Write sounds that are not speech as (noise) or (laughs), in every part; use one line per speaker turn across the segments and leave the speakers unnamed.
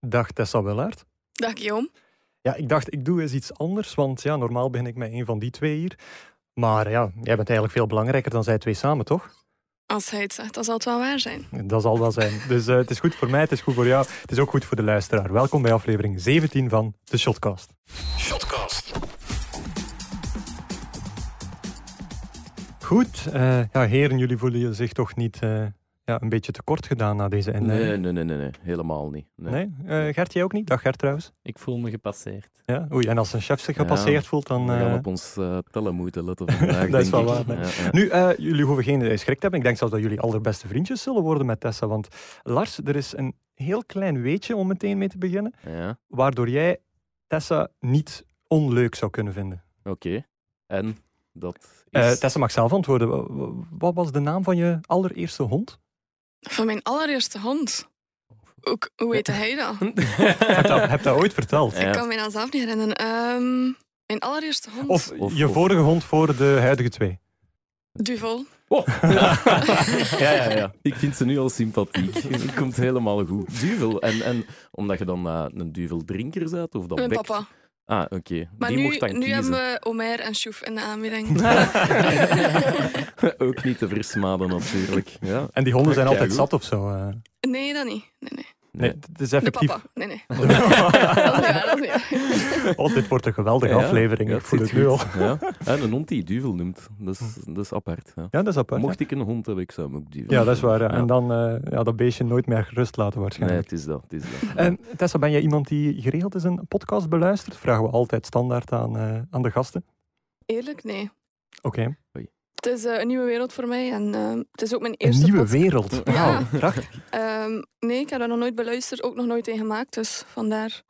Dag Tessa Wellaert.
Dag Guillaume.
Ja, ik dacht, ik doe eens iets anders, want ja, normaal begin ik met een van die twee hier. Maar ja, jij bent eigenlijk veel belangrijker dan zij twee samen, toch?
Als hij het zegt, dan zal het wel waar zijn.
Dat zal wel zijn. Dus eh, het is goed voor mij, het is goed voor jou, het is ook goed voor de luisteraar. Welkom bij aflevering 17 van de Shotcast.
Shotcast.
Goed, eh, ja, heren, jullie voelen je zich toch niet eh, ja, een beetje tekort gedaan na deze inleiding?
Nee, nee, nee, nee, nee. helemaal niet. Nee.
eh, Nee? Eh, Gert, jij ook niet? Dag Gert trouwens.
Ik voel me gepasseerd.
Ja? Oei, en als een chef zich
Ja.
gepasseerd voelt,
We
dan...
gaan
eh,
op ons eh, tellen moeten
(laughs)
letten vandaag.
Dat is
denk
wel
ik.
waar,
Ja, ja.
Nu, eh, jullie hoeven geen eh, schrik te hebben. Ik denk zelfs dat jullie allerbeste vriendjes zullen worden met Tessa. Want Lars, er is een heel klein weetje om meteen mee te beginnen.
Ja,
Waardoor jij Tessa niet onleuk zou kunnen vinden.
oké. En dat is...
Eh,
(laughs)
Tessa mag zelf antwoorden. Wa- wa- Wat was de naam van je allereerste hond?
Van mijn allereerste hond. Ook, hoe
(laughs)
heette hij dat?
heb, dat, heb dat ooit verteld?
Ja.
Ik kan me dat zelf niet herinneren. Ehm, mijn allereerste hond.
Of,
Of-
je
of-
vorige hond voor de huidige twee?
Duvel.
(laughs)
Oh. ja, ja, ja. Ik vind ze nu al sympathiek. (laughs) Het komt helemaal goed. Duvel. En, en omdat je dan eh, een duveldrinker bent? Of dat
Mijn
bekt?
papa.
Ah, oké.
Maar
Die
nu,
mocht dan
nu hebben
(laughs) kiezen.
we Omer en Sjoef in de
(laughs)
aanbieding.
Ook niet te versmaden, natuurlijk. Ja.
En die honden zijn
Oké,
altijd
goed.
zat of zo. eh.
Nee, dat niet. Nee, nee.
Nee,
Nee.
het is
De
effectief.
papa. Nee, nee. (laughs) dat is niet waar, dat is niet waar.
(laughs) Oh, dit wordt een geweldige
(laughs) Ja,
aflevering.
ja,
ik voel
zit
het nu al.
goed. Ja. En een hond die duvel noemt. Dat is, dat is apart. Ja.
Ja, dat is Hm. apart.
Mocht ik een hond hebben, ik zou hem ook duvel
Ja, dat is waar. ja.
noemen.
En dan eh, ja, dat beestje nooit meer gerust laten
Nee,
waarschijnlijk.
het is dat. Het is dat.
En Tessa, ben jij iemand die geregeld is een podcast beluistert? Vragen we altijd standaard aan, eh, aan de gasten.
Eerlijk, nee.
Oké.
Het is eh, een nieuwe wereld voor mij en ehm, het is ook mijn eerste podcast.
wereld.
Ja.
Wauw, prachtig.
Ehm, nee, ik heb dat nog nooit beluisterd, ook nog nooit in gemaakt. Dus vandaar.
het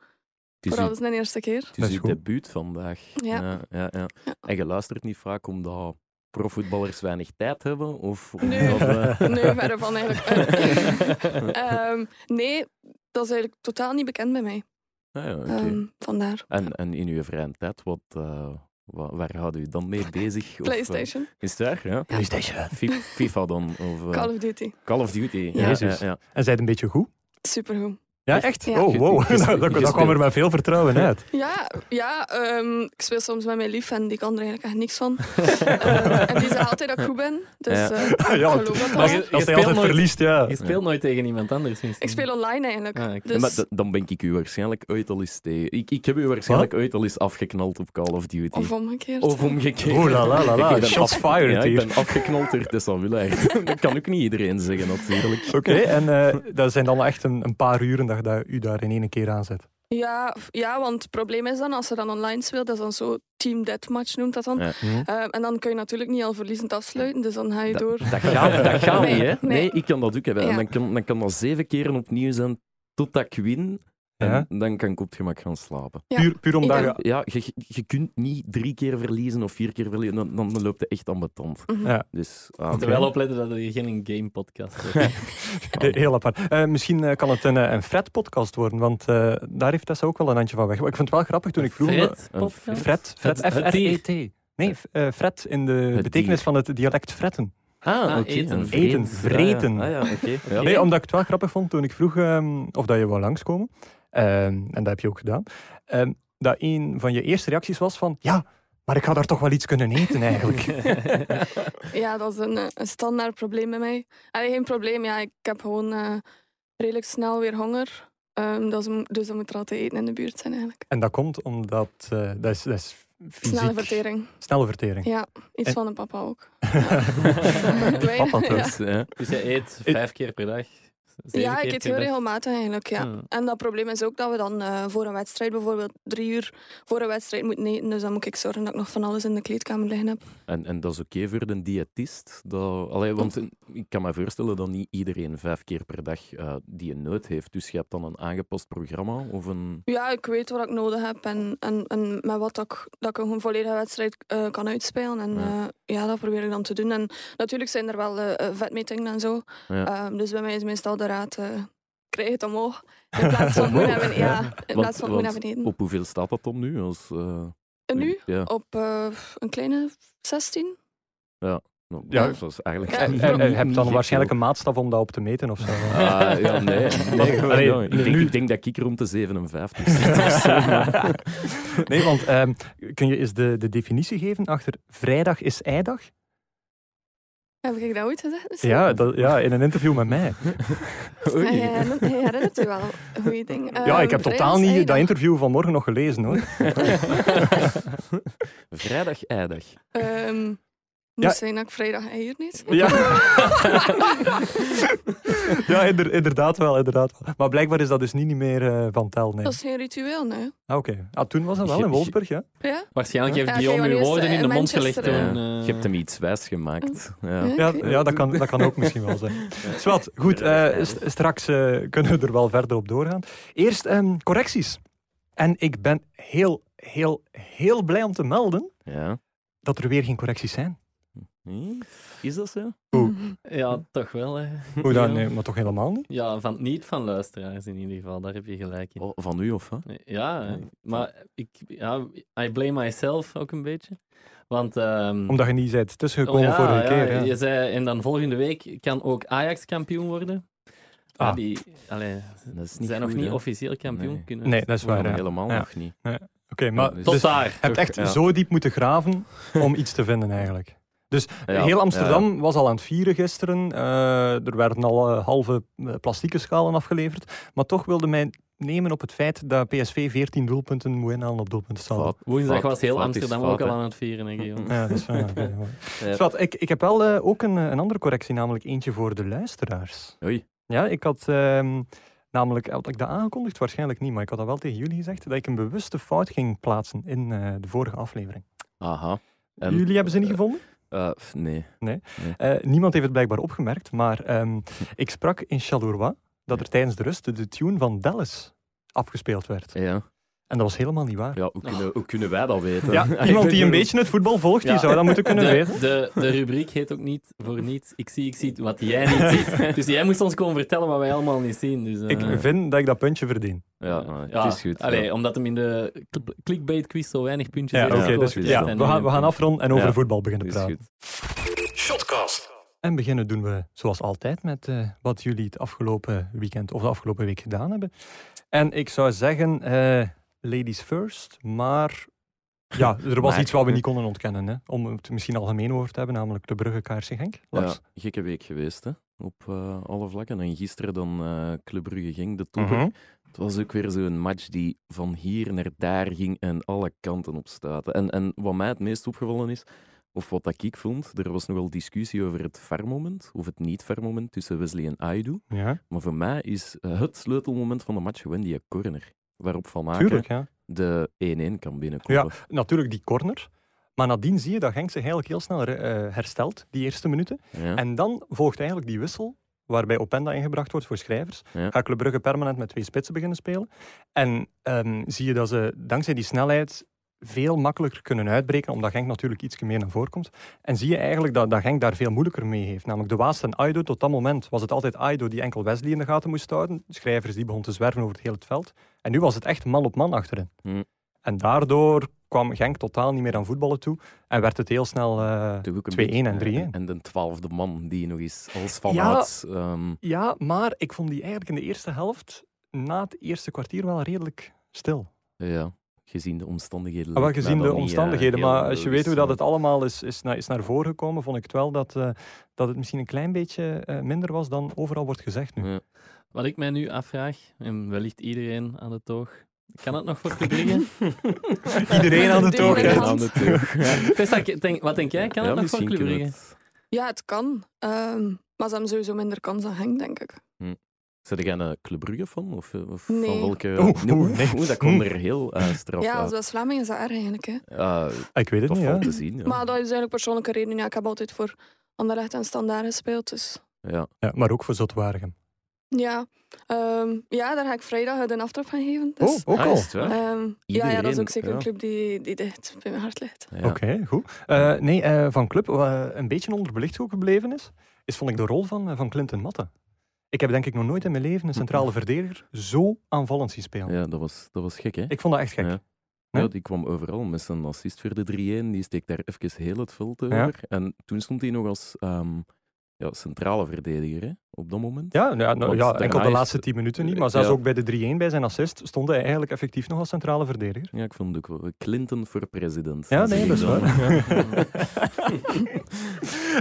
is
Vooral
uw,
dat is mijn eerste keer.
het
Dat
is
is
uw
goed.
debuut vandaag.
Ja.
Ja, ja, ja.
Ja.
En je luistert niet vaak omdat profvoetballers weinig tijd hebben? Of omdat
Nee.
we-
(laughs) Nee,
(laughs)
verre van eigenlijk. (laughs) Eh, ehm, nee, dat is eigenlijk totaal niet bekend bij mij.
Ah, ja, oké.
Ehm, vandaar.
en, en in uw vrije tijd, wat, eh, wa- waar houden u dan mee bezig? Of, eh,
PlayStation,
is het waar? Ja?
PlayStation.
Fi- FIFA dan? Of, eh,
Call of Duty.
Call of Duty. Ja,
Jezus.
ja, ja.
En zij het een beetje goed?
Supergoed.
Ja, echt?
Ja.
Oh, (laughs) wow.
Gespeeld.
dat, dat- dat kwam er met veel vertrouwen
(laughs)
uit.
Ja, ja ehm, ik speel soms met mijn lief en die kan er eigenlijk echt niks
(laughs)
van. Ehm, en die zegt altijd dat ik goed ben. Dus
Ja.
eh, ik
ja,
geloof dat
maar
wel.
je-
als hij
speelt
altijd
nooit-
verliest, ja.
Je speelt nooit tegen iemand anders misschien.
Ik speel online eigenlijk.
Ah, oké.
Ja,
Dus
maar da- dan ben ik u waarschijnlijk ooit al eens tegen. Ik, ik heb u waarschijnlijk ooit al eens afgeknald op Call of Duty.
of omgekeerd.
Of omgekeerd.
Oeh, Oh, la, la, la,
(laughs)
la.
Ik ben
Shots
af-
fired
ja,
hier.
ik ben afgeknald door Tessa Willaert. (laughs) dat kan ook niet iedereen zeggen, natuurlijk.
Oké, en eh, dat zijn dan echt een, een paar uren dat je daar- u daar in één keer aanzet.
Ja, f- ja, want het probleem is dan, als ze dan online speelt, dat is dan zo Team Deathmatch noemt dat dan.
Ja.
Ehm, en dan kun je natuurlijk niet al verliezend afsluiten, dus dan ga je door.
Dat gaat, dat gaat
Nee,
niet, hè? Nee.
nee.
ik kan dat ook hebben. En
Ja.
dan kan, dan kan dat zeven keren opnieuw zijn totdat ik win.
Ja.
En dan kan ik op het gemak gaan slapen.
Ja,
Puur, puur omdat
ik
je...
Ja, je, je- je kunt niet drie keer verliezen of vier keer verliezen. Dan, dan loopt het echt aan de tand.
Mhm.
Ja.
Dus,
Je
ah,
moet er wel opletten dat er hier geen game podcast is.
(laughs)
He- Heel apart. Eh, misschien eh, kan het een, eh, een Fred-podcast worden, want eh, daar heeft Tessa ook wel een handje van weg. Ik vond het wel grappig toen ik vroeg... me-
Fred, podcast?
Fred, Fred,
Het- het dier.
F-R-E-T. Nee, f- eh, Fred in de
Het
betekenis
dier.
van het dialect fretten.
Ah,
Ah,
oké.
eten.
Een vreed.
Eten, vreten.
Ah ja, ah ja, oké. Ja.
Nee, omdat ik het wel grappig vond toen ik vroeg ehm, of dat je wou langskomen. Ehm, en dat heb je ook gedaan. Ehm, dat een van je eerste reacties was van... Ja, maar ik ga daar toch wel iets kunnen eten eigenlijk.
(laughs)
Ja, dat is een, eh, een standaard probleem bij mij. Allee, geen probleem, ja, ik heb gewoon eh, redelijk snel weer honger. Ehm, dat is, m- dus dan moet er altijd eten in de buurt zijn eigenlijk.
en dat komt omdat... eh, dat, is, dat is fysiek...
Snelle vertering.
Snelle vertering.
Ja, iets
En-
van een papa ook. Wij-
Papa
ja.
thuis.
Dus, ja.
Dus je eet vijf keer per dag? Zeven
Ja,
keer
ik eet
per
heel
dag?
regelmatig eigenlijk, ja.
(laughs)
Hmm.
En dat probleem is ook dat we dan eh, voor een wedstrijd, bijvoorbeeld drie uur voor een wedstrijd moeten eten. Dus dan moet ik zorgen dat ik nog van alles in de kleedkamer liggen heb.
En, en dat is oké voor een diëtist. Dat, allee, want eh, ik kan me voorstellen dat niet iedereen vijf keer per dag eh, die een nood heeft. Dus je hebt dan een aangepast programma of een.
Ja, ik weet wat ik nodig heb en, en, en met wat dat ik, dat ik een volledige wedstrijd eh, kan uitspelen. En
Ja.
ja. ja, dat probeer ik dan te doen. En natuurlijk zijn er wel eh, eh, vetmetingen en zo.
Ja.
Ehm, dus bij mij is meestal de raad, eh, krijg het omhoog. In plaats van moet
Omhoog,
hebben,
ja.
ja, in
Want-
plaats van moet
want
hebben eten.
Op hoeveel staat dat dan nu? Als, eh,
En nu?
Ja.
Op eh, een kleine 16?
Ja. Nou,
Ja.
dat is eigenlijk...
Ja.
Eh, (laughs)
Niet
eh, eh,
veel.
heb dan waarschijnlijk een maatstaf om dat op te meten of zo.
Ah, ja, nee.
Nee,
nee,
allee,
ik, denk,
nu-
ik denk dat ik rond de 57
(laughs)
zit. of zo, maar-
(laughs) nee, want ehm, kun je eens de, de definitie geven achter vrijdag is eidag?
Heb ik dat ooit gezegd? misschien?
Ja, dat, ja, in een interview met mij.
Oei.
Hij herinnert- hij herinnert u wel goede dingen.
ja,
Ehm,
ik heb totaal
vrijdag
niet dat
is
interview van morgen nog gelezen
(laughs)
hoor.
Vrijdag, eidag.
eidag. Ehm,
Ja.
moest zijn dat ik vrijdag hier niet
Ja, (laughs) ja inder- inderdaad wel, inderdaad wel. Maar blijkbaar is dat dus niet, niet meer eh, van tel, nee.
Dat is geen ritueel, nee.
Ah, Oké, ah, toen was dat wel in Wolfsburg, ja.
Ja?
Waarschijnlijk heeft
Ja,
Dion
oké,
uw
maar nu is,
woorden
eh,
in de mond gelegd
Manchester,
toen.
eh,
eh,
Je hebt hem iets wijs gemaakt. Ja.
Ja.
Ja,
Oké.
ja dat, kan, dat kan ook misschien wel zijn. Zwat, goed, eh, s- straks eh, kunnen we er wel verder op doorgaan. Eerst ehm, correcties. En ik ben heel, heel, heel blij om te melden
Ja.
dat er weer geen correcties zijn.
Hm? Is dat zo?
(laughs)
Mhm.
Ja, toch wel, hè.
Hoe dan?
Ja.
Nee, maar toch helemaal niet?
Ja, van, niet van luisteraars in ieder geval, daar heb je gelijk in.
Oh, van u of hè?
Ja, hè. maar ik, ja, I blame myself ook een beetje. Want... ehm,
Omdat je niet bent tussengekomen
Oh, ja,
vorige
ja,
keer. Ja.
Je zei, en dan volgende week kan ook Ajax kampioen worden. Ja,
Ah.
die allee, ze
Dat is niet
zijn nog
goed,
niet
hè?
officieel kampioen
Nee.
kunnen.
Nee, dat is waar.
Waarom
ja. Oké,
helemaal
Ja.
nog niet.
maar
dus-
dus
Tot
je
daar.
hebt echt
Ja.
zo diep moeten graven om iets te vinden eigenlijk.
Ja,
Heel
ja.
Amsterdam was al aan het vieren gisteren. Eh, er werden al eh, halve eh, plastieke schalen afgeleverd. Maar toch wilde mij nemen op het feit dat PSV 14 doelpunten moet inhalen op doelpuntensaldo.
Fout.
Woensdag
Fout-
was heel
fout is
Amsterdam
fout,
ook al
hè.
aan het vieren, hè, Guillaume.
(laughs) Ja, dat is waar. oké, mooi.
Ja.
Zwat, ik, ik heb wel eh, ook een, eh, een andere correctie, namelijk eentje voor de luisteraars.
Oei.
Ja, ik had ehm, namelijk, had ik dat aangekondigd? Waarschijnlijk niet, maar ik had dat wel tegen jullie gezegd, dat ik een bewuste fout ging plaatsen in eh, de vorige aflevering.
Aha. En,
jullie hebben ze niet gevonden?
eh, f- nee.
Eh, niemand heeft het blijkbaar opgemerkt, maar ehm, ik sprak in Charleroi dat er tijdens de rust de tune van Dallas afgespeeld werd.
Ja.
En dat was helemaal niet waar.
Ja, hoe, kunnen, hoe kunnen wij dat weten?
Oh.
(laughs)
Ja, iemand die een beetje het voetbal volgt, die
Ja.
zou dat moeten kunnen weten.
De, de, de rubriek heet ook niet voor niets. Ik zie, ik zie wat jij niet
(laughs)
ziet. Dus jij moest ons komen vertellen wat wij allemaal niet zien. Dus, eh,
Ik vind dat ik dat puntje verdien.
Ja,
eh,
eh,
ja,
het is goed.
Allee,
ja.
Omdat hem in de cl- clickbait quiz zo weinig puntjes dus
Ja,
heeft.
oké,
dat
dat
gescoord.
is goed.
is
Ja,
dan
we, gaan, we gaan afronden en over
Ja.
voetbal beginnen
Is
praten.
goed.
En beginnen doen we zoals altijd met eh, wat jullie het afgelopen weekend of de afgelopen week gedaan hebben. En ik zou zeggen, eh, ladies first, maar
(laughs)
ja, er was
Maar-
iets wat we niet konden ontkennen. Hè? Om het misschien algemeen over te hebben, namelijk de bruggekaarsje Genk.
Ja,
Lars.
gekke week geweest, hè? Op eh, alle vlakken. En gisteren dan eh Club Brugge ging, de topper.
Mhm.
Het was ook weer zo'n match die van hier naar daar ging en alle kanten op stuitte. En, en wat mij het meest opgevallen is, of wat dat ik vond, er was nogal discussie over het VAR-moment, of het niet-VAR-moment tussen Wesley en Aidu.
Ja,
Maar voor mij is eh, het sleutelmoment van de match gewoon die corner, waarop Van Aken
tuurlijk. Ja.
de 1-1 kan binnenkomen.
Natuurlijk die corner. Maar nadien zie je dat Genk zich eigenlijk heel snel eh, herstelt, die eerste minuten.
Ja.
En dan volgt eigenlijk die wissel, waarbij Openda ingebracht wordt voor schrijvers.
Ja.
Gaat Club Brugge permanent met twee spitsen beginnen spelen. En ehm, zie je dat ze dankzij die snelheid veel makkelijker kunnen uitbreken, omdat Genk natuurlijk iets meer naar voren komt. En zie je eigenlijk dat, dat Genk daar veel moeilijker mee heeft. Namelijk de Waas en Aido, tot dat moment was het altijd Aido die enkel Wesley in de gaten moest houden. Schrijvers die begon te zwerven over het hele veld. En nu was het echt man op man achterin.
Hm.
En daardoor kwam Genk totaal niet meer aan voetballen toe en werd het heel snel... eh,
Toch ook een
2-1 en
beetje,
3-1.
eh, En de twaalfde man die nog eens als Van
Ja.
Aert, ehm,
Ja, maar ik vond die eigenlijk in de eerste helft, na het eerste kwartier, wel redelijk stil.
Ja, gezien de omstandigheden.
Ah, wel
lijkt mij
gezien
dat
de
niet, eh,
omstandigheden,
heel dus, eh,
maar als je weet hoe dat
logisch,
het allemaal is, is, na- is naar voren gekomen, vond ik het wel dat, eh, dat het misschien een klein beetje eh, minder was dan overal wordt gezegd nu.
(laughs) Ja.
Wat ik mij nu afvraag, en wellicht iedereen aan het oog, kan het nog voor Club Brugge?
Iedereen
(laughs)
aan het
Iedereen
oog, hè.
aan het-
Tessa, ik denk- wat denk jij? Kan
Ja,
het nog voor
misschien
Club
kunnen we
Brugge?
het.
Ja, het kan. Ehm, maar ze hebben sowieso minder kans dan Henk, denk ik.
Zijn jij een Club Brugge fan? Of, eh, of
Nee.
van welke...
Oeh,
Nee,
oeh, nee.
oeh, dat komt er heel eh, straf
ja, als
uit.
we Vlamingen is dat erg eigenlijk. Hè.
Ja,
Ik weet het
tof
niet, hè.
om te zien. Ja.
Maar dat is eigenlijk persoonlijke reden. Ja, ik heb altijd voor Anderlecht en Standaard gespeeld. Dus
Ja.
Ja, maar ook voor Zotwaardigem.
ja. Ehm, ja, daar ga ik vrijdag de aftrap van geven. Dus,
oh, ook
Ah,
al.
is het
ehm,
waar?
ja, ja, dat is
Iedereen,
ook zeker
ja.
een club die, die dicht bij mijn hart ligt.
Ja.
Oké, goed. Eh, nee, eh, van club, wat een beetje onderbelicht ook gebleven is, is vond ik de rol van, eh, van Clinton Matte. Ik heb denk ik nog nooit
(laughs)
in mijn leven een centrale verdediger zo aanvallend zien spelen.
Ja, dat was, dat was gek, hè?
Ik vond dat echt gek.
Ja.
Nee?
Ja, die kwam overal met zijn assist voor de 3-1. Die steekt daar even heel het veld over. En toen stond hij nog als ehm, ja, centrale verdediger hè, op dat moment.
Ja, nou, nou,
Want
ja
daarna
enkel de
is-
laatste tien minuten niet, maar zelfs
Ja.
ook bij de 3-1 bij zijn assist stond hij eigenlijk effectief nog als centrale verdediger.
(laughs) Ja, ik vond het ook wel. Clinton voor president.
Ja, nee,
zie
dat
je
is
dan.
waar. (laughs)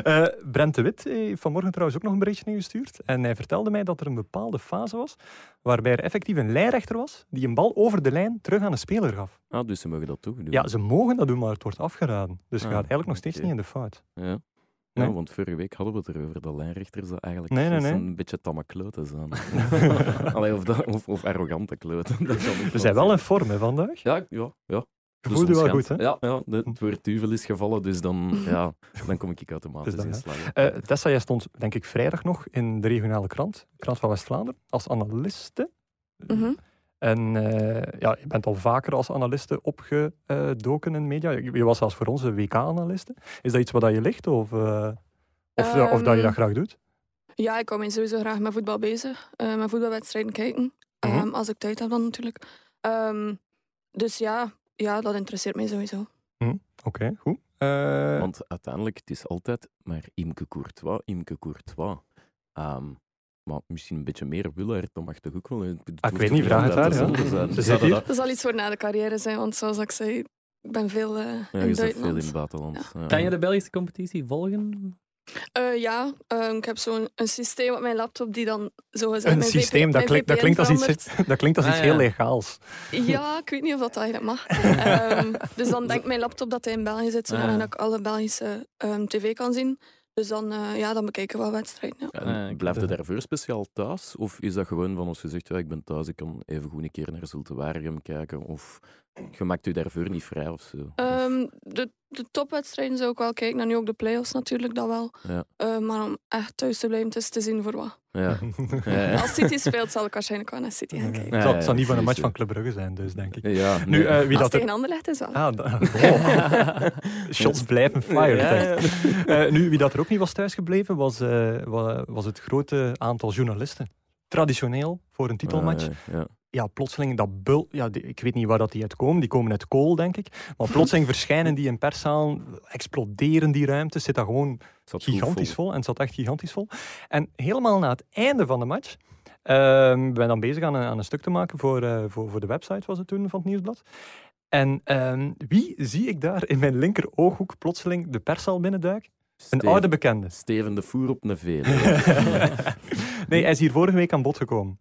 Eh, Brent de Wit heeft vanmorgen trouwens ook nog een berichtje ingestuurd. En hij vertelde mij dat er een bepaalde fase was waarbij er effectief een lijnrechter was die een bal over de lijn terug aan de speler gaf.
Ah, dus ze mogen dat toch doen.
Ja, ze mogen dat doen, maar het wordt afgeraden. Dus je
Ah,
gaat eigenlijk nog steeds
oké.
niet in de fout.
Ja. Ja, Nou,
Nee.
want vorige week hadden we het erover dat lijnrechters dat eigenlijk
Nee, nee,
zo'n
nee.
een beetje tamme
(laughs)
kloten zijn. Allee, of, dat, of, of arrogante kloten. dat kan ook
We
wel
zijn wel
zijn.
in vorm hè, vandaag.
Ja, ja, ja. Dus
Je voelde je wel goed, hè?
Ja, ja de, het woord duvel is gevallen, dus dan,
(laughs)
ja, dan kom ik automatisch
Dus dan,
in
hè.
slag.
Eh, Tessa, jij stond denk ik vrijdag nog in de regionale krant, Krant van West-Vlaanderen, als analiste.
Mhm.
En eh, ja, je bent al vaker als analiste opgedoken in media. Je je was zelfs voor onze WK-analiste. Is dat iets wat je ligt of, eh, of, ja, of dat je dat
Ehm,
graag doet?
Ja, ik hou me sowieso graag met voetbal bezig. eh met voetbalwedstrijden kijken.
Mhm.
Ehm, als ik tijd heb dan natuurlijk. Ehm, dus ja, ja, dat interesseert mij sowieso.
Oké, goed. Eh,
Want uiteindelijk, het is altijd maar Imke Courtois, Imke Courtois. Ehm, maar misschien een beetje meer Willard, dat mag toch ook wel... Ik
Ah, weet niet, vraag het haar, ja. Ze zit hier.
Dat zal iets voor na de carrière zijn, want zoals ik zei, ik ben veel eh,
Ja,
in
je zit veel
Duitsland.
in het buitenland. Ja.
Kan je de Belgische competitie volgen?
Eh, ja, ehm, ik heb zo'n een systeem op mijn laptop die dan zo gezegd
een
mijn
systeem, dat
VP mijn
klinkt, dat
VPN
klinkt als iets,
verandert.
(laughs) dat klinkt als
Ah,
iets
ja.
heel legaals.
Ja, ik weet niet of dat eigenlijk mag. Ehm, dus dan denkt mijn laptop dat hij in België zit, zodat
Ah.
ik alle Belgische ehm, tv kan zien. Dus dan, eh, ja, dan bekijken we wel wedstrijden. Ja.
En
Ah, oké.
blijft het daarvoor speciaal thuis? Of is dat gewoon van ons gezegd, ja, ik ben thuis, ik kan even goed een keer naar Zultuarium kijken? Of je maakt u daarvoor niet vrij of zo?
Eh.
Ehm, de, de topwedstrijden zou ik wel kijken. En nu ook de play-offs natuurlijk, dat wel.
Ja.
Eh, maar om echt thuis te blijven, het is te zien voor wat.
ja.
(laughs)
Ja.
Als City speelt, zal ik waarschijnlijk wel naar City gaan kijken.
het, zal, het zal niet van een
precies,
match
ja.
van Club Brugge zijn, dus denk ik.
Ja,
Nu,
nee.
eh, wie
Als
dat er...
tegen Anderlecht is wel.
Ah, da- oh. (laughs) Shots blijven fired.
Ja,
hè.
ja.
(laughs) Eh, nu, wie dat er ook niet was thuisgebleven, was, eh, wa- was het grote aantal journalisten. Traditioneel voor een titelmatch.
Ah, ja.
Ja, plotseling dat bul... Ja, die- ik weet niet waar dat die uit komen. Die komen uit kool, denk ik. Maar plotseling verschijnen die in perszaal, exploderen die ruimtes. Zit daar gewoon
Het zat goed
gigantisch vol. En het zat echt gigantisch vol. En helemaal na het einde van de match. ehm ik ben dan bezig aan een, aan een stuk te maken voor, eh, voor, voor de website, was het toen, van het Nieuwsblad. En ehm, wie zie ik daar in mijn linker ooghoek plotseling de perszaal binnenduiken? Een
Steven-
oude bekende. (laughs)
Steven de Voer op een vele. (laughs) ja.
nee, hij is hier vorige week aan bod gekomen.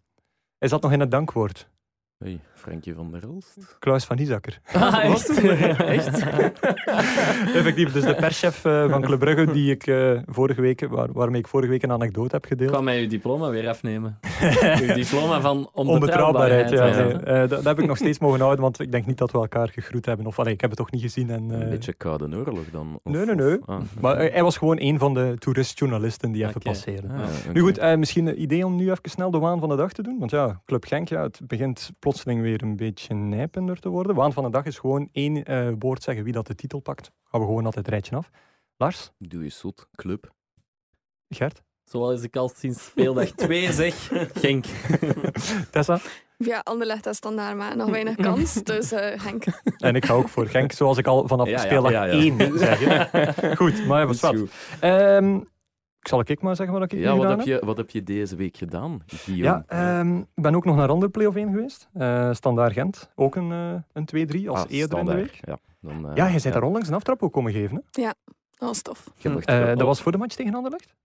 Hij zat nog in het dankwoord.
Hey, Frankie van der Elst.
Klaus van
(laughs)
Niezakker.
Ah,
Wat?
echt? Echt?
Effectief, dus de perschef eh, van Club Brugge, die ik, eh, vorige week, waar, waarmee ik vorige week een anekdote heb
Ik
gedeeld.
kwam mij uw diploma
(laughs)
weer afnemen. Uw diploma van
Onbetrouwbaarheid,
onbetrouwbaarheid.
ja.
ja.
nee. Eh, dat, dat heb ik nog steeds mogen houden, want ik denk niet dat we elkaar gegroet hebben. Of allee, ik heb het toch niet gezien. En,
Een
eh,
beetje koude oorlog dan. of-
Nee, nee,
of-
nee.
ah.
Maar eh, hij was gewoon een van de toeristjournalisten die even
Oké.
passeren.
Ah, oké.
Nu goed, eh, misschien een idee om nu even snel de waan van de dag te doen. Want ja, Club Genk, ja, het begint plotseling weer een beetje nijpender te worden. Waan van de dag is gewoon één eh, woord zeggen wie dat de titel pakt. Gaan we gewoon altijd het rijtje af. Lars,
Doe je zot, club.
Gert, (laughs)
Zoals ik al sinds speeldag 2 zeg, Genk.
Tessa.
Ja, Anderlecht en Standaard maken
(laughs)
nog weinig kans. Dus eh Henk.
En ik ga ook voor Genk, zoals ik al vanaf
Ja, ja,
speeldag
ja, ja.
één zeg. hè.
(laughs)
Goed, maar wat
Is
wat.
goed.
Ehm, ik zal ik maar zeggen wat ik hier
Ja, wat
gedaan
heb, je, wat heb je deze week gedaan, Guillaume?
Ja, ehm, ik ben ook nog naar andere play-off 1 geweest. Eh Standaard Gent, ook een, eh, een 2-3 als
Ah,
eerder in de
standaard.
week.
Ja, dan, eh,
Ja, jij bent daar onlangs een aftrap ook komen geven. Hè?
Dat was tof.
Je Oh, mocht
Eh,
wel-
dat was voor de match tegen Anderlecht?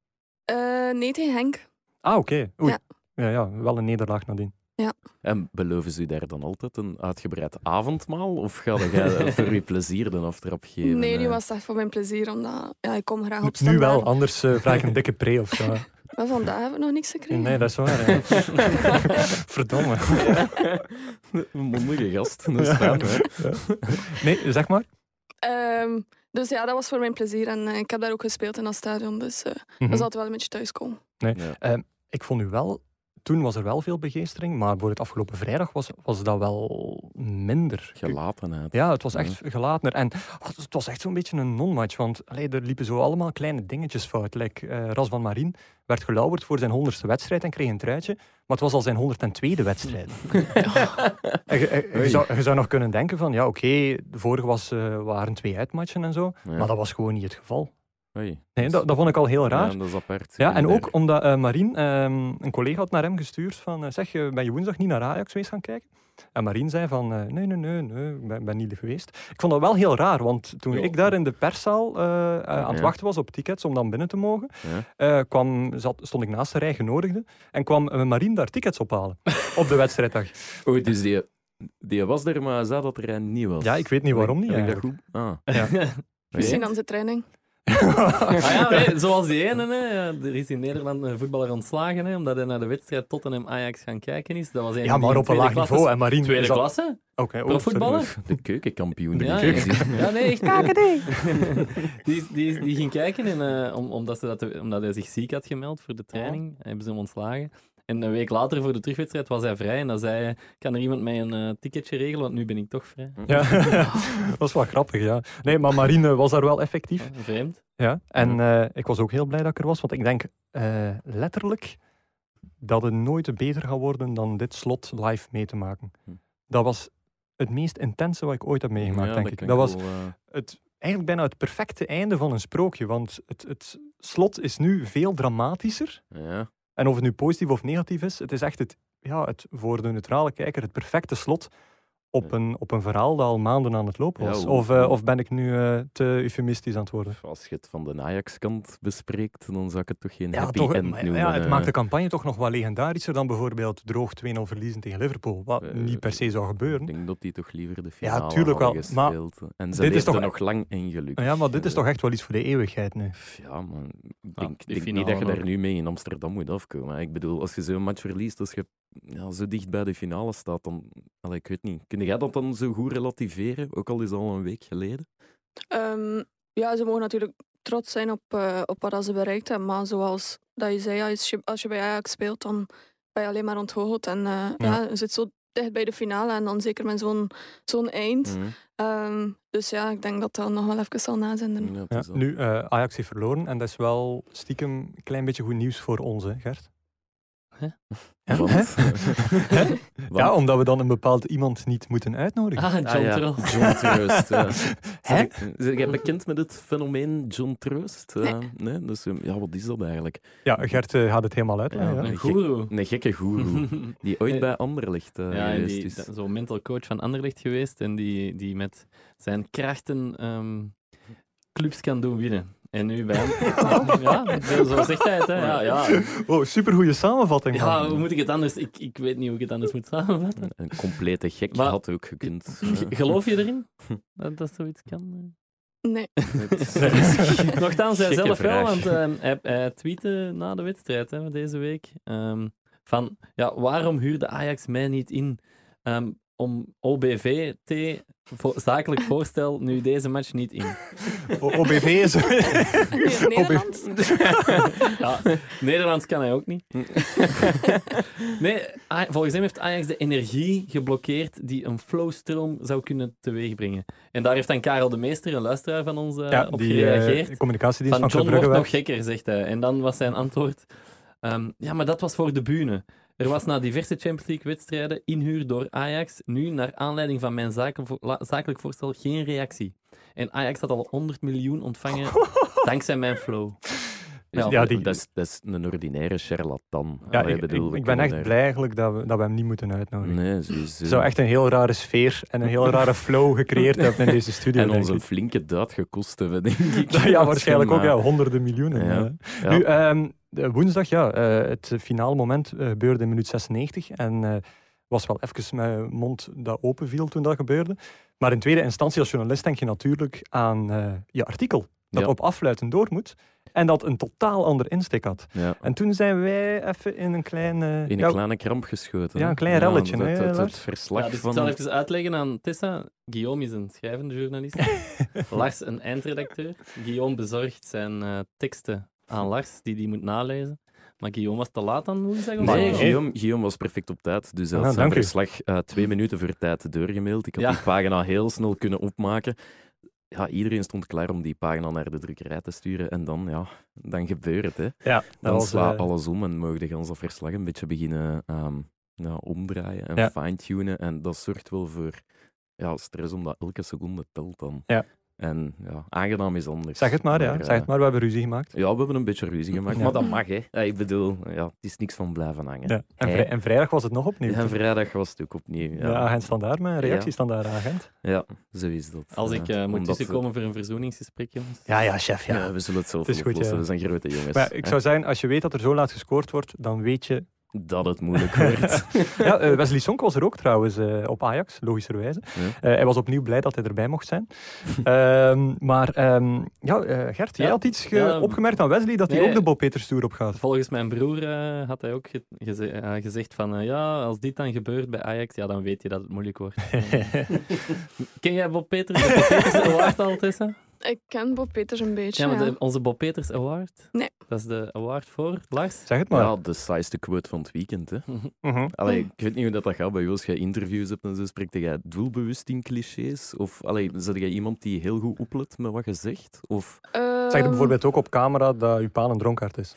Eh, nee, tegen Henk.
Ah, oké. Oei.
Ja.
Ja, ja, wel een nederlaag nadien.
En beloven ze u daar dan altijd een uitgebreid avondmaal? Of ga
(laughs)
jij voor uw plezier de aftrap geven?
nee, die
eh?
was echt voor mijn plezier. Omdat, ja, ik kom graag Ah, op
Nu
standaard.
wel, anders eh, vraag ik een dikke pre of
(laughs)
zo.
Maar vandaag hebben we nog niks gekregen.
Nee, dat is waar.
(laughs)
ja. Verdomme.
Een mondige gast, dat is fijn, hè?
Nee, zeg maar.
Ehm, dus ja, dat was voor mijn plezier. En eh, ik heb daar ook gespeeld in dat stadion. Dus eh
Mhm.
dat zal het wel een beetje thuiskomen.
Ja.
Ik vond u wel toen was er wel veel begeestering, maar voor het afgelopen vrijdag was, was dat wel minder.
Gelatenheid.
Ja, het was
Mhm.
echt gelatener. En oh, het was echt zo'n beetje een non-match. Want allee, er liepen zo allemaal kleine dingetjes fout. Like, eh, Ras van Marien werd gelauwerd voor zijn honderdste wedstrijd en kreeg een truitje. Maar het was al zijn 102e
(laughs)
wedstrijd. En je- eh, je- je,
Oei.
zou, je zou nog kunnen denken van, ja oké, de vorige was, eh, waren twee uitmatchen en zo.
Ja.
Maar dat was gewoon niet het geval.
Oei.
Nee, dat, dat vond ik al heel raar.
Ja, dat is apart.
Ja, en ook
inderdaad.
omdat eh Marien, ehm, een collega had naar hem gestuurd van, eh, zeg, eh, ben je woensdag niet naar Ajax geweest gaan kijken? En Marien zei van, eh, nee, nee, nee, nee, ik ben, ben niet geweest. Ik vond dat wel heel raar, want toen
Ja.
ik daar in de perszaal eh, eh, aan het
Ja.
wachten was op tickets om dan binnen te mogen, eh, kwam, zat, stond ik naast de rij genodigden en kwam eh, Marien daar tickets ophalen op de wedstrijddag.
Oei, dus die, die was er, maar zei dat er een niet was.
Ja, ik weet niet waarom niet
Heb ik dat
eigenlijk.
goed? Ah. (laughs)
(laughs)
Misschien aan zijn training.
Ah ja, nee, zoals die ene, hè. Ja, er is in Nederland een voetballer ontslagen, hè, omdat hij naar de wedstrijd Tottenham Ajax gaan kijken is. Dat was een
Ja, maar op een laag niveau. En Marien
Tweede
is dat-
klasse?
Oké, oh,
Profvoetballer?
sorry.
De keukenkampioen.
Ja,
die
ja.
ik zie.
ja, nee, echt. (laughs) die, is- die, is- die ging kijken en, eh, om- omdat, ze dat, omdat hij zich ziek had gemeld voor de training, hebben ze hem ontslagen. En een week later voor de terugwedstrijd was hij vrij en dan zei hij, kan er iemand mij een eh, ticketje regelen, want nu ben ik toch vrij.
(laughs) Ja, dat was wel grappig, ja. Nee, maar Marien eh, was daar wel effectief.
Ah, Vreemd.
Ja, en eh, ik was ook heel blij dat ik er was, want ik denk eh, letterlijk dat het nooit beter gaat worden dan dit slot live mee te maken.
Hm.
Dat was het meest intense wat ik ooit heb meegemaakt,
Ja,
denk ik.
kan
Dat was
wel, eh,
het, eigenlijk bijna het perfecte einde van een sprookje, want het, het slot is nu veel dramatischer.
eh, ja.
En of het nu positief of negatief is, het is echt het, ja, het, voor de neutrale kijker het perfecte slot op
Ja.
een, op een verhaal dat al maanden aan het lopen
Ja,
was.
hoe-
of, eh,
hoe-
of ben ik nu eh, te eufemistisch aan het worden?
Als je het van de Ajax-kant bespreekt, dan zou ik het toch geen
Ja,
happy
toch,
end
maar
noemen.
ja, het
eh.
maakt de campagne toch nog wel legendarischer dan bijvoorbeeld droog 2-0 verliezen tegen Liverpool. Wat
Eh,
niet per se zou
Ik
gebeuren.
denk dat die toch liever de finale ja,
tuurlijk
hadden
wel, maar
gespeeld. en ze
dit is
leefden
toch-
nog lang in geluk.
Nou Ja, maar
eh,
dit is toch echt wel iets voor de eeuwigheid nu.
Pff, Ja, man. Ik
Ja,
denk,
die
denk niet
finale
dat je daar
ook.
nu mee in Amsterdam moet afkomen. hè. Ik bedoel, als je zo'n match verliest, als je ja, zo dicht bij de finale staat, dan... Allee, ik weet niet. Kun jij dat dan zo goed relativeren? Ook al is het al een week geleden.
Ehm, ja, ze mogen natuurlijk trots zijn op, eh, op wat ze bereikt hebben. Maar zoals dat je zei, als je, als je bij Ajax speelt, dan ben je alleen maar onthoogd. En eh, ja. je zit zo dicht bij de finale en dan zeker met zo'n zo'n eind.
Mm.
Mhm.
Ehm, dus ja, ik denk dat dat nog wel even zal nazenden.
Mm.
Ja, het
Ja,
is dat.
nu, eh, Ajax heeft verloren en dat is wel stiekem een klein beetje goed nieuws voor ons, hè, Gert.
Hè?
Ja,
Want-
hè?
(laughs) Hè?
ja, omdat we dan een bepaald iemand niet moeten uitnodigen.
Ah, John
Ah, ja.
Terrell.
John Troost. ja.
(laughs) Hè?
Zijn eh, jij bekend met het fenomeen John Troost? Eh, nee? Dus, eh, ja, wat is dat eigenlijk?
Ja, Gert eh, gaat het helemaal uitleggen.
Ja,
Ja,
nee.
Een goeroe.
Een gekke
(laughs)
goeroe die ooit
Eh,
bij Anderlecht eh
Ja, en
geweest
die,
is.
dat- zo'n mental coach van Anderlecht geweest en die, die met zijn krachten ehm, clubs kan doen winnen. En nu bij hem. (laughs)
(laughs)
ja, zo- zo zegt hij het. Hè. Ja, ja.
Wow, Oh, supergoeie samenvatting.
ja,
man.
hoe moet ik het anders? Ik, ik weet niet hoe ik het anders moet samenvatten.
Een complete gek
Maar-
had ook eh, gekund.
G-
(laughs)
Geloof je erin dat dat zoiets kan? eh?
Nee,
(laughs)
Nochtans, hij
Gekke
zelf wel,
vraag.
want ehm, hij, hij tweette na de wedstrijd hè, deze week ehm, van ja, waarom huurde Ajax mij niet in ehm, om OBVT, vo- zakelijk voorstel, nu deze match niet in?
O- OBV
(laughs)
is... (laughs)
Hier in Nederland.
Ja, Nederlands kan hij ook niet.
Hm.
(laughs) Nee, A- volgens hem heeft Ajax de energie geblokkeerd die een flowstroom zou kunnen teweegbrengen. En daar heeft dan Karel de Meester, een luisteraar van ons, eh,
Ja,
op
die eh,
gereageerd.
communicatiedienst
van
van,
John
Club
wordt
Brugge
nog gekker, zegt hij. En dan was zijn antwoord... ehm, ja, maar dat was voor de bühne. Er was na diverse Champions League-wedstrijden inhuur door Ajax nu, naar aanleiding van mijn zakenvo- la- zakelijk voorstel, geen reactie. En Ajax had al 100 miljoen (laughs) ontvangen
(laughs)
dankzij mijn flow.
Dus ja,
Ja, die-
die... dat, is, dat is een ordinaire charlatan.
Ja,
Allee,
ik,
bedoel,
ik-
we
ik ben
kunnen
echt
daar-
blij eigenlijk dat we, dat we hem niet moeten uitnodigen.
Nee, sowieso.
Zou echt een heel rare sfeer en een heel rare flow
(laughs)
gecreëerd hebben in deze studio.
En
denk
ons een
ik. (laughs)
flinke duit gekost hebben, denk ik.
Ja, waarschijnlijk ook, ja,
Maar-
honderden miljoenen.
Ja.
eh.
Ja.
Nu, ehm, de woensdag, ja, eh, het finale moment eh, gebeurde in minuut 96. En eh, was wel even mijn mond dat open viel toen dat gebeurde. Maar in tweede instantie, als journalist, denk je natuurlijk aan eh, je artikel. Dat
Ja.
op affluiten door moet. En dat een totaal ander insteek had.
ja.
En toen zijn wij even in een eh, kleine...
In een
ja,
kleine kramp geschoten.
Ja,
hè.
een klein relletje,
dat-
hè,
dat- Het,
Lars?
verslag
ja, dus
van...
Ik zal even uitleggen aan Tessa. Guillaume is een schrijvende (laughs) journalist. Lars een eindredacteur. Guillaume bezorgt zijn eh, teksten aan Lars, die die moet nalezen. Maar Guillaume was te laat dan, moet ik zeggen? of
Maar
Nee,
zo?
nee.
Guillaume, Guillaume was perfect op tijd. Dus hij had
Ah,
zijn
dank u.
verslag eh, twee minuten voor tijd doorgemaild. Ik had
Ja.
die pagina heel snel kunnen opmaken. Ja, iedereen stond klaar om die pagina naar de drukkerij te sturen. En dan, ja, dan gebeurt het. Hè.
Ja, dat
Dan
was,
slaat
eh,
alles om en mogen de ganse verslag een beetje beginnen ehm, ja, omdraaien en
Ja.
fine-tunen. En dat zorgt wel voor ja, stress, omdat elke seconde telt dan.
Ja.
En ja, aangenaam is anders.
Zeg het maar, ja.
eh,
Zeg het maar, we hebben ruzie gemaakt.
ja, we hebben een beetje ruzie gemaakt,
Ja.
maar dat mag, hè. Ja, ik bedoel, ja, het is niks van blijven hangen.
Ja. En,
Hey.
vrij- en vrijdag was het nog opnieuw.
En vrijdag was het ook opnieuw.
De
Ja,
agent standaard, mijn reactie standaard agent.
ja zo is dat.
Als ik
Ja,
eh, moet
omdat-
tussenkomen voor een verzoeningsgesprek, jongens.
Ja, ja, chef,
Ja, we zullen het zelf
Het is
wel
goed,
oplossen.
ja.
We zijn grote jongens.
Maar ik
hè.
zou zeggen, als je weet dat er zo laat gescoord wordt, dan weet je... (laughs)
Dat het moeilijk wordt.
Ja, eh, Wesley Sonk was er ook trouwens eh, op Ajax, logischerwijze.
Ja.
Eh, hij was opnieuw blij dat hij erbij mocht zijn. (laughs) Ehm, maar ehm, ja, eh, Gert, jij
Ja.
had iets ge-
Ja, ehm,
opgemerkt aan Wesley, dat hij
nee.
ook de Bob Peters Tour op
(laughs)
gaat.
Volgens mijn broer eh, had hij ook ge- geze- eh, gezegd van, eh, ja, als dit dan gebeurt bij Ajax, ja, dan weet je dat het moeilijk wordt. Ken jij Bob Peters? De Bob Peters Award al, Tessa?
Ik ken Bob Peters een beetje.
Ja, maar
ja.
de- onze Bob Peters Award?
Nee.
Dat is de award voor
(laughs)
Lars?
Zeg het (laughs) maar.
ja, de saaiste quote van het weekend, hè.
Mhm.
Allee, ik weet niet hoe dat, dat gaat bij jou. Als jij interviews hebt en zo, spreekt jij doelbewust in clichés? Of allee, zet jij iemand die heel goed oplet met wat je zegt? Of
Zeg
Ehm,
het bijvoorbeeld ook op camera dat je paal een dronkaard is.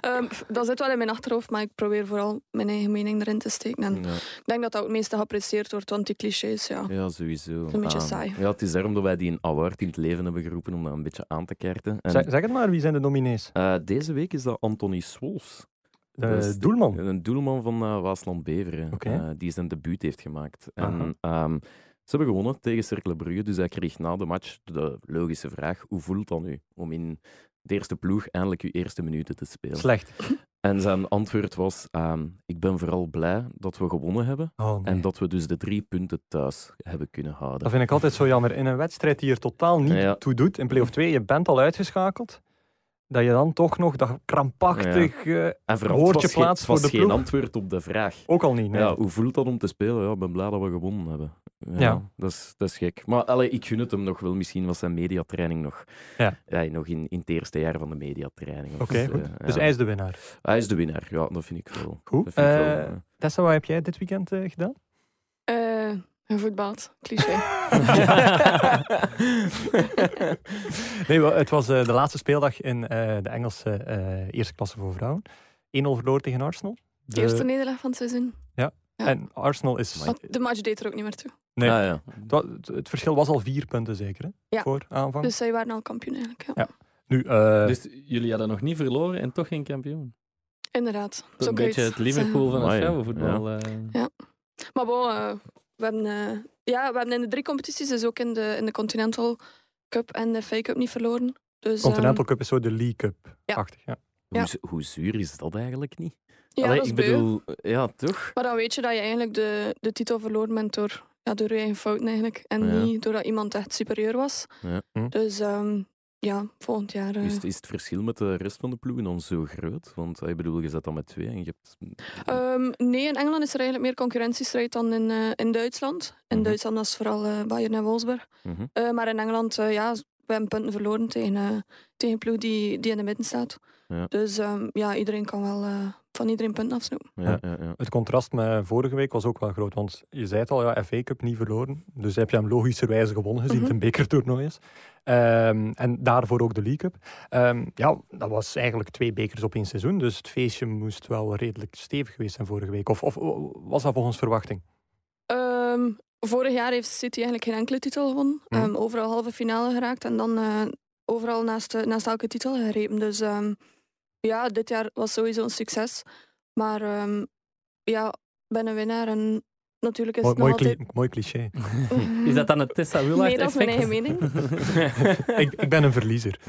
ehm, f- dat zit wel in mijn achterhoofd, maar ik probeer vooral mijn eigen mening erin te steken.
Mm.
En
ja,
ik denk dat dat ook het meeste geapprecieerd wordt, want die clichés, ja.
ja, sowieso.
is een beetje
Ah,
saai.
Ja, het is daarom dat wij die een award in het leven hebben geroepen om dat een beetje aan te kaarten. En,
Zeg, zeg het maar, wie zijn de nominees?
eh, deze week is dat Anthony Swols.
De
Dat is de-
Eh, doelman.
Een doelman van eh, Waasland Beveren,
Oké.
eh, die zijn debuut heeft gemaakt.
Aha.
En, ehm, ze hebben gewonnen tegen Cercle Brugge, dus hij kreeg na de match de logische vraag: hoe voelt dat nu om in de eerste ploeg eindelijk uw eerste minuten te spelen?
Slecht.
En zijn antwoord was: ehm, ik ben vooral blij dat we gewonnen hebben
Oh, nee.
en dat we dus de drie punten thuis hebben kunnen houden.
Dat vind ik altijd zo jammer. In een wedstrijd die er totaal niet
Ja.
toe doet, in play-off 2, je bent al uitgeschakeld, dat je dan toch nog dat krampachtig... eh,
En vooral,
Woordje
het was, geen-
plaats
het was
voor de
geen
ploeg.
antwoord op de vraag.
ook al niet, nee.
Ja, hoe voelt dat om te spelen? Ja, ik ben blij dat we gewonnen hebben. Ja,
Ja.
Dat, is, dat is gek. Maar allee, ik gun het hem nog wel. Misschien was zijn mediatraining nog,
Ja.
Ja, nog in, in het eerste jaar van de mediatraining. of
Oké,
zo,
goed.
eh, ja.
Dus hij is de winnaar.
Hij is de winnaar. Ja, dat vind ik wel.
Goed.
Dat vind ik wel,
Eh,
ja.
Tessa, wat heb jij dit weekend eh,
(laughs)
gedaan?
Eh gevoetbald, cliché.
nee, wel, het was eh, de laatste speeldag in eh, de Engelse eh, eerste klasse voor vrouwen. 1-0 verloren tegen Arsenal.
De
De-
eerste nederlaag van het seizoen. ja.
En Arsenal is...
Maar-
Want De match deed er ook niet meer toe.
nee.
Ah, ja.
Het, wa- het- het verschil was al vier punten zeker, hè?
Ja.
Voor aanvang.
Dus zij waren al kampioen eigenlijk. Ja.
Ja. nu, eh,
Dus jullie hadden nog niet verloren en toch geen kampioen.
Inderdaad.
Dat is een
Zoiets.
beetje het Liverpool van het
Amai,
vrouwenvoetbal. eh.
Maar bon, eh, we, hebben, eh, ja, we hebben in de drie competities, dus ook in de, in de Continental Cup en de FA Cup niet verloren. Dus,
Continental Cup is zo de League Cup-achtig. Ja.
Hoe, z- hoe zuur is dat eigenlijk niet?
ehm, ja,
Allee,
dat is
ik
beu.
bedoel, ja, toch?
Maar dan weet je dat je eigenlijk de, de titel verloren bent door, ja, door je eigen fouten eigenlijk. En
Ja.
niet doordat iemand echt superieur was.
Ja.
Hm.
Dus ehm, ja, volgend jaar... eh,
Is, het- is het verschil met de rest van de ploegen dan zo groot? Want eh, ik bedoel, je zet dan met twee en je hebt.
Ehm, nee, in Engeland is er eigenlijk meer concurrentiestrijd dan in, eh, in Duitsland. In
Mhm.
Duitsland was het vooral eh, Bayern en Wolfsburg.
Mhm.
Eh, maar in Engeland, eh, ja, we hebben punten verloren tegen, eh, tegen een ploeg die, die in de midden staat.
Ja.
Dus ehm, ja, iedereen kan wel eh, van iedereen punten afsnoepen.
Ja, ja, ja.
Het contrast met vorige week was ook wel groot, want je zei het al, ja, FA Cup niet verloren. Dus heb je hem logischerwijze gewonnen, gezien
Mhm.
het een bekertoernooi is. Ehm, en daarvoor ook de League Cup. Ehm, ja, dat was eigenlijk twee bekers op één seizoen, dus het feestje moest wel redelijk stevig geweest zijn vorige week. Of, of was dat volgens verwachting?
Ehm, vorig jaar heeft City eigenlijk geen enkele titel gewonnen.
Hm.
Mhm.
Ehm, overal halve finale geraakt en dan eh, overal naast, eh, naast elke titel gerepen. Dus ehm, ja, dit jaar was sowieso een succes. Maar ehm, ja, ik ben een winnaar en natuurlijk is
Mooi,
het nog
mooi,
altijd...
cli- mooi cliché.
(laughs)
(laughs) Is dat dan het Tessa Willard
Nee, dat is mijn eigen
effect?
mening.
(laughs)
ik, ik ben een verliezer.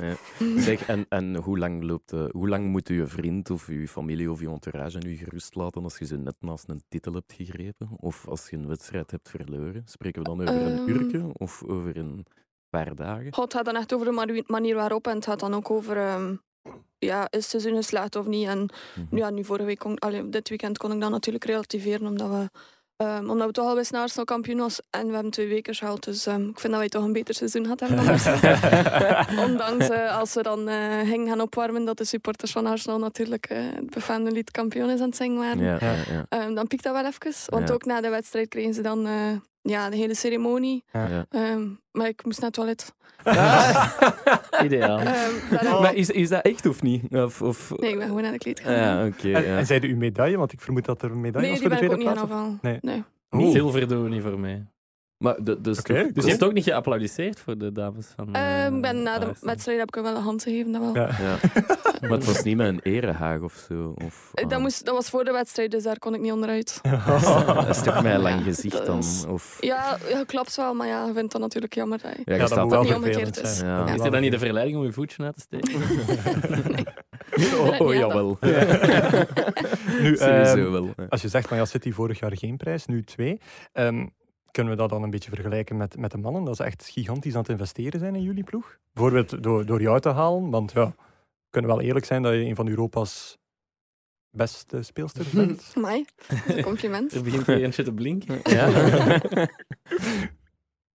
Zeg, en, en hoe lang loopt, eh, hoe lang moet je vriend of je familie of je entourage nu gerust laten als je ze net naast een titel hebt gegrepen? Of als je een wedstrijd hebt verloren? Spreken we dan over een
Ehm.
uurtje of over een paar
(laughs)
dagen?
God, het gaat dan echt over de manu- manier waarop en het gaat dan ook over... ehm, ja, is het seizoen geslaagd of niet? En (laughs)
Mhm. (laughs)
ja, nu vorige week, kon, allee, dit weekend kon ik dat natuurlijk relativeren, omdat we Ehm, omdat we toch al wisten naar Arsenal kampioen was en we hebben twee weken gehaald. Dus ehm, ik vind dat wij toch een beter seizoen gehad hebben dan
(laughs)
Arsenal. Ondanks eh, als we dan eh gingen gaan opwarmen dat de supporters van Arsenal natuurlijk eh, het befaamde lied kampioen is aan het zingen waren.
Ja, ja, ja.
Ehm, dan piekt dat wel even. Want
Ja.
ook na de wedstrijd kregen ze dan eh, ja, de hele ceremonie.
ja.
Ehm, maar ik moest naar het toilet.
(laughs)
Ideaal.
Ehm, daar heb ik-
Oh. Maar is, is dat echt of niet? Of, of...
Nee, ik ben gewoon naar de kleed
Ah,
gegaan.
ja, oké.
(laughs) En,
ja.
en zeiden u medaille? Want ik vermoed dat er een medaille was
nee, die
voor de
ben ik ook
tweede
niet aan
plaats. of-
afhalen.
Nee.
nee.
Niet.
Zilver doen we niet voor mij.
Maar dat, dat is
Oké,
toch-
Dus
cool.
je hebt ook niet geapplaudisseerd voor de dames van. eh,
Ehm,
Hmm,
ben na de
Arsenal.
wedstrijd heb ik er wel een hand gegeven, dat wel.
Ja.
Ja. Maar het was niet met een erehaag of zo. Of,
Eh, Dat,
ah. (laughs)
moest, dat was voor de wedstrijd, dus daar kon ik niet onderuit.
Dat is toch mijn lang
Ja,
gezicht
dat
dan?
is-
Of...
Ja, ja, klopt wel, maar ja, je vindt dat natuurlijk jammer. hè.
Ja, je
Ja, dat
staat
moet wel
daar-
(laughs)
niet omgekeerd dus.
vervelend
is.
zijn.
Ja.
Dat moet
Is
wel
er dan niet de
vervelend
verleiding om je voetje uit te (laughs) steken?
Oh, oh,
Ja, dat-
jawel.
zijn. Nu, ehm,
(laughs) Sowieso wel.
Als je zegt van ja, City vorig jaar geen prijs, nu twee. ehm, kunnen we dat dan een beetje vergelijken met, met de mannen? Dat ze echt gigantisch aan het investeren zijn in jullie ploeg? Bijvoorbeeld door, door jou te halen, want ja, we kunnen wel eerlijk zijn dat je een van Europa's beste speelsters
(laughs)
bent.
Amai, dat is een
(laughs)
compliment.
Er begint hier eentje te blinken.
Ja.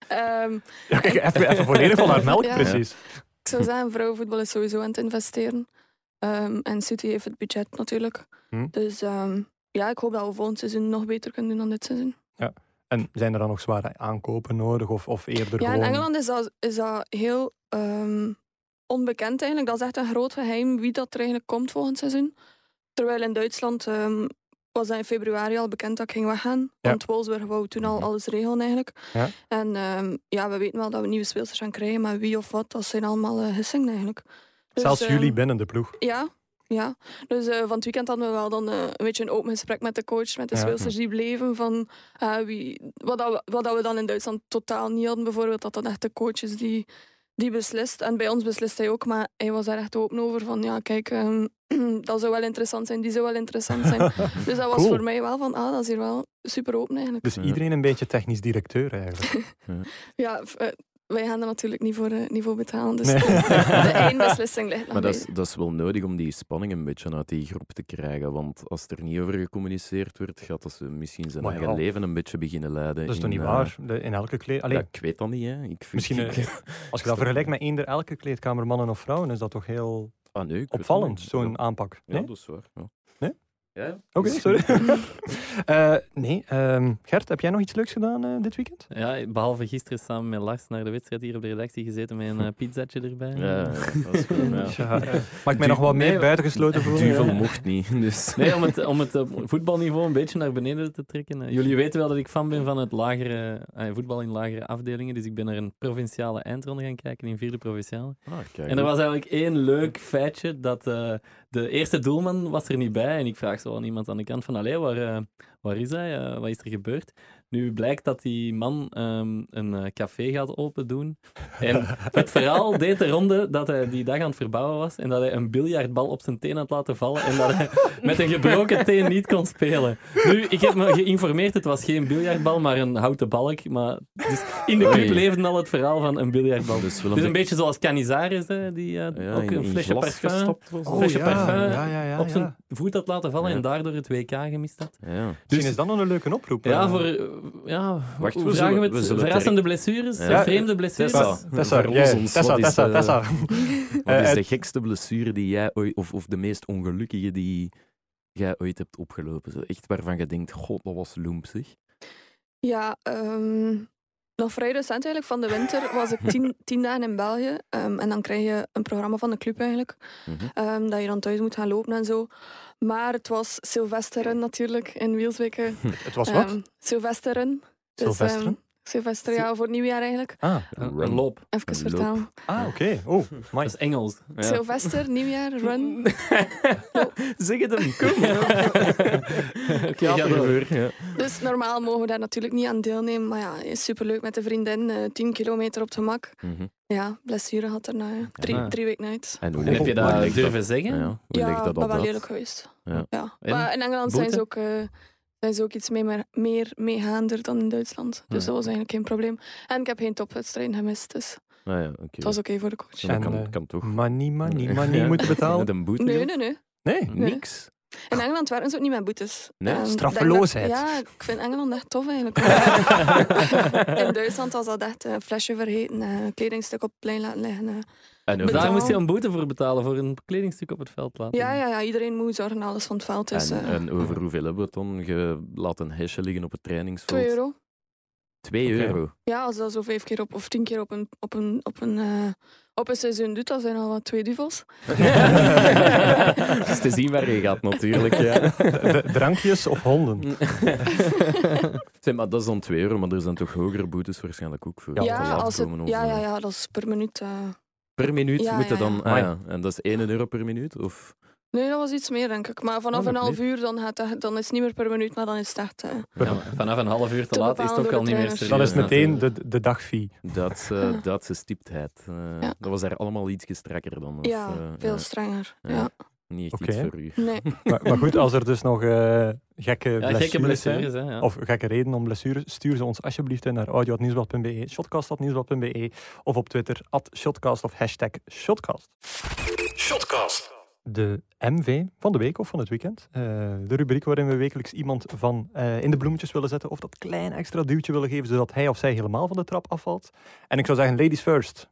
Ehm,
Ja, kijk, even, even volledig van
(laughs)
haar melk,
Ja.
precies.
ik zou zeggen, vrouwenvoetbal is sowieso aan het investeren. Ehm, en City heeft het budget natuurlijk.
Hm.
Dus ehm, ja, ik hoop dat we volgend seizoen nog beter kunnen doen dan dit seizoen.
En zijn er dan nog zware aankopen nodig of, of eerder
Ja, in
gewoon...
Engeland is dat, is dat heel ehm, onbekend eigenlijk. Dat is echt een groot geheim wie dat er eigenlijk komt volgend seizoen. Terwijl in Duitsland ehm, was dat in februari al bekend dat ik ging weggaan.
Ja.
Want Wolfsburg wou toen al
Mhm.
alles regelen eigenlijk.
Ja.
En ehm, ja, we weten wel dat we nieuwe speelsters gaan krijgen. Maar wie of wat, dat zijn allemaal eh gissingen eigenlijk. Dus,
Zelfs
ehm,
jullie binnen de ploeg.
Ja, ja. Dus eh, van het weekend hadden we wel dan eh, een beetje een open gesprek met de coach, met de
Ja.
speelsters die bleven. Van, eh, wie, wat, dat we, wat dat we dan in Duitsland totaal niet hadden, bijvoorbeeld, dat dat echt de coach is die, die beslist. En bij ons beslist hij ook, maar hij was daar echt open over. Van ja, kijk, ehm, (clears throat) dat zou wel interessant zijn, die zou wel
(laughs)
interessant zijn. dus dat was
Cool.
voor mij wel van, ah, dat is hier wel super open eigenlijk.
Dus
Ja.
iedereen een beetje technisch directeur eigenlijk.
Ja, f- eh, wij gaan er natuurlijk niet voor, eh, niet voor betalen. Dus
Nee.
(laughs)
(laughs)
de eindbeslissing ligt nog
Maar dat
bij-
is, dat is wel nodig om die spanning een beetje uit die groep te krijgen. Want als er niet over gecommuniceerd wordt, gaat dat ze misschien zijn
Maar
eigen
ja.
leven een beetje beginnen leiden.
Dat is toch
in,
niet
eh,
waar? De- in elke kleed... Allee,
ja, ik weet dat niet, hè. Ik vind-
Misschien, eh,
ik-
als je dat vergelijkt met eender elke kleedkamer, mannen of vrouwen, is dat toch heel...
(laughs) Ah, nee, ik weet dat
Opvallend,
niet.
zo'n aanpak.
Ja,
Nee?
dat is waar. Ja.
Nee?
Ja, ja.
Oké,
(laughs)
sorry. Eh, nee, ehm, Gert, heb jij nog iets leuks gedaan eh, dit weekend?
Ja, behalve gisteren samen met Lars naar de wedstrijd hier op de redactie gezeten met een eh, pizzatje erbij.
Ja, dat is goed, ja.
Ja.
(laughs)
Mag ik mij
Du-
nog wat meer
nee,
buitengesloten voelen?
Duvel
Ja.
mocht niet, (laughs) dus...
Nee, om het, om het eh, voetbalniveau een beetje naar beneden te trekken. Eh, Jullie weten wel dat ik fan ben van het lagere, eh, voetbal in lagere afdelingen. Dus ik ben naar een provinciale eindronde gaan kijken in vierde provinciale.
Ah, kijk.
En er was eigenlijk één leuk feitje dat eh, de eerste doelman was er niet bij. En ik vraag zo aan iemand aan de kant van, allee, waar, eh, waar is hij? Eh, wat is er gebeurd? Nu blijkt dat die man ehm, een eh, café gaat open
(laughs)
doen. En het verhaal deed de ronde dat hij die dag aan het verbouwen was en dat hij een biljartbal op zijn teen had laten vallen
(laughs)
en dat hij met een gebroken teen niet kon spelen. Nu, ik heb me geïnformeerd, het was geen biljartbal, maar een houten balk. Maar dus in de club
Oei.
leefde al het verhaal van een biljartbal.
Dus wel een
Dus een beetje zoals Canizares, hè, die eh,
Ja,
ook
in-
een
in
flesje
glas
parfum,
gestopt was.
een flesje
Oh, ja,
parfum
ja, ja, ja,
op zijn
ja.
voet had laten vallen
Ja.
en daardoor het WK gemist had.
Ja.
Misschien is dat nog een leuke oproep.
Ja,
eh.
voor... eh, Ja,
Wacht,
hoe
we
vragen
zullen-
we het?
we zullen
Verrassende blessures?
Ja.
eh,
Ja,
Vreemde blessures?
Tessa.
Tessa,
voor
jij-
ons ons,
Tessa,
wat is eh,
Tessa,
de-
Tessa.
Wat
Eh,
is
eh,
de gekste blessure die jij ooit, of, of de meest ongelukkige die jij ooit hebt opgelopen? Zo echt waarvan je denkt, god, dat was loempsig.
Ja, ehm, nog vrij recent eigenlijk. Van de winter was ik
(laughs)
tien, tien dagen in België. Ehm, en dan krijg je een programma van de club eigenlijk.
Mhm.
ehm, dat je dan thuis moet gaan lopen en zo. Maar het was Sylvesteren natuurlijk in Wielsweken.
Het was wat?
Sylvesteren. Dus,
Sylvesteren?
ehm, Sylvester, ja, voor nieuwjaar eigenlijk.
ah,
Een,
Run.
een loop.
Even
Een loop.
vertalen.
(laughs) ah oké. Oh,
Dat
my.
is Engels.
Sylvester, nieuwjaar,
(laughs)
run.
(laughs) zeg het hem, kom. (laughs)
Oké, ga door.
Dus normaal mogen we daar natuurlijk niet aan deelnemen. Maar ja, is superleuk met de vriendin. eh 10 kilometer op het gemak. Ja, blessure had er na eh, drie,
Ah.
drie weken uit.
Mhm. En hoe
En heb je
hoe
dat
legt
durven zeggen?
Ja, hoe
ja,
legt dat
ben
op
wel
uit?
eerlijk geweest.
Ja.
Ja.
En?
Maar in Engeland zijn
Boete?
ze, ook, eh, zijn ze ook iets mee, maar meer meegaander dan in Duitsland. Dus
Ja.
dat was eigenlijk geen probleem. En ik heb geen topwedstrijden gemist, dus
Ah, ja,
het
oké.
was oké voor de coach.
Ja, Dat
En,
kan,
eh,
kan toch.
Money, money, money
(laughs) Ja.
moeten betalen.
Met een boete?
Nee,
doen?
nee, nee.
Nee.
nee.
Niks?
In Engeland werken ze ook niet met boetes.
Nee?
En ik denk dat-
Straffeloosheid.
Ja, ik vind Engeland echt tof eigenlijk. In Duitsland was dat echt eh, een flesje vergeten, eh, een kledingstuk op het plein laten liggen. eh.
En
Betaal-
Daar
een,
moest je een boete voor betalen, voor een kledingstuk op het veld laten.
Ja,
(laughs)
ja, ja, iedereen moet zorgen dat alles van het veld is.
en,
eh,
en over hoeveel hebben we het dan? Je laat een hesje liggen op het trainingsveld.
2 euro.
Twee
Oké.
euro.
Ja, als dat zo vijf keer op, of tien keer op een, op een, op een, eh, op een seizoen doet, dan zijn al wat twee duvels.
Dus Het is te zien waar je gaat natuurlijk.
(laughs)
Ja.
D- drankjes of honden?
Zeg, maar dat is dan 2 euro, maar er zijn toch hogere boetes waarschijnlijk ook voor
Ja,
Ja,
te laat
als het,
komen of,
ja,
eh,
ja, ja, dat is per minuut. eh.
Per minuut
Ja,
moeten
ja, ja.
dan... Ah, ja. En dat is 1 euro per minuut? Of
Nee, dat was iets meer, denk ik. Maar
Oh,
vanaf
nog
een half uur, dan, gaat dat- dan is het niet meer per minuut, maar dan is het echt... eh,
Ja, vanaf een half uur te
Te
laat is het
bepalen
ook
door
al
de
niet meer
trainers.
serieus.
Dat is
Ja,
meteen
natuurlijk.
de, de dagfee.
Duitse,
Ja.
Duitse stieptheid? Eh,
Ja.
Dat was daar allemaal iets strakker dan. Of,
ja,
eh,
veel
ja,
strenger.
ja.
Ja.
niet echt
Oké.
iets voor u.
Nee.
Maar, maar goed, als er dus nog eh, gekke,
Ja, gekke
zijn,
blessures, hè. Ja.
Of (laughs) gekke reden om blessures, stuur ze ons alsjeblieft in naar audio.nieuwsblad.be, shotcast.nieuwsblad.be of op Twitter, shotcast of hashtag shotcast. Shotcast. De MV van de week of van het weekend. Eh, de rubriek waarin we wekelijks iemand van eh, in de bloemetjes willen zetten of dat klein extra duwtje willen geven, zodat hij of zij helemaal van de trap afvalt. En ik zou zeggen, ladies first.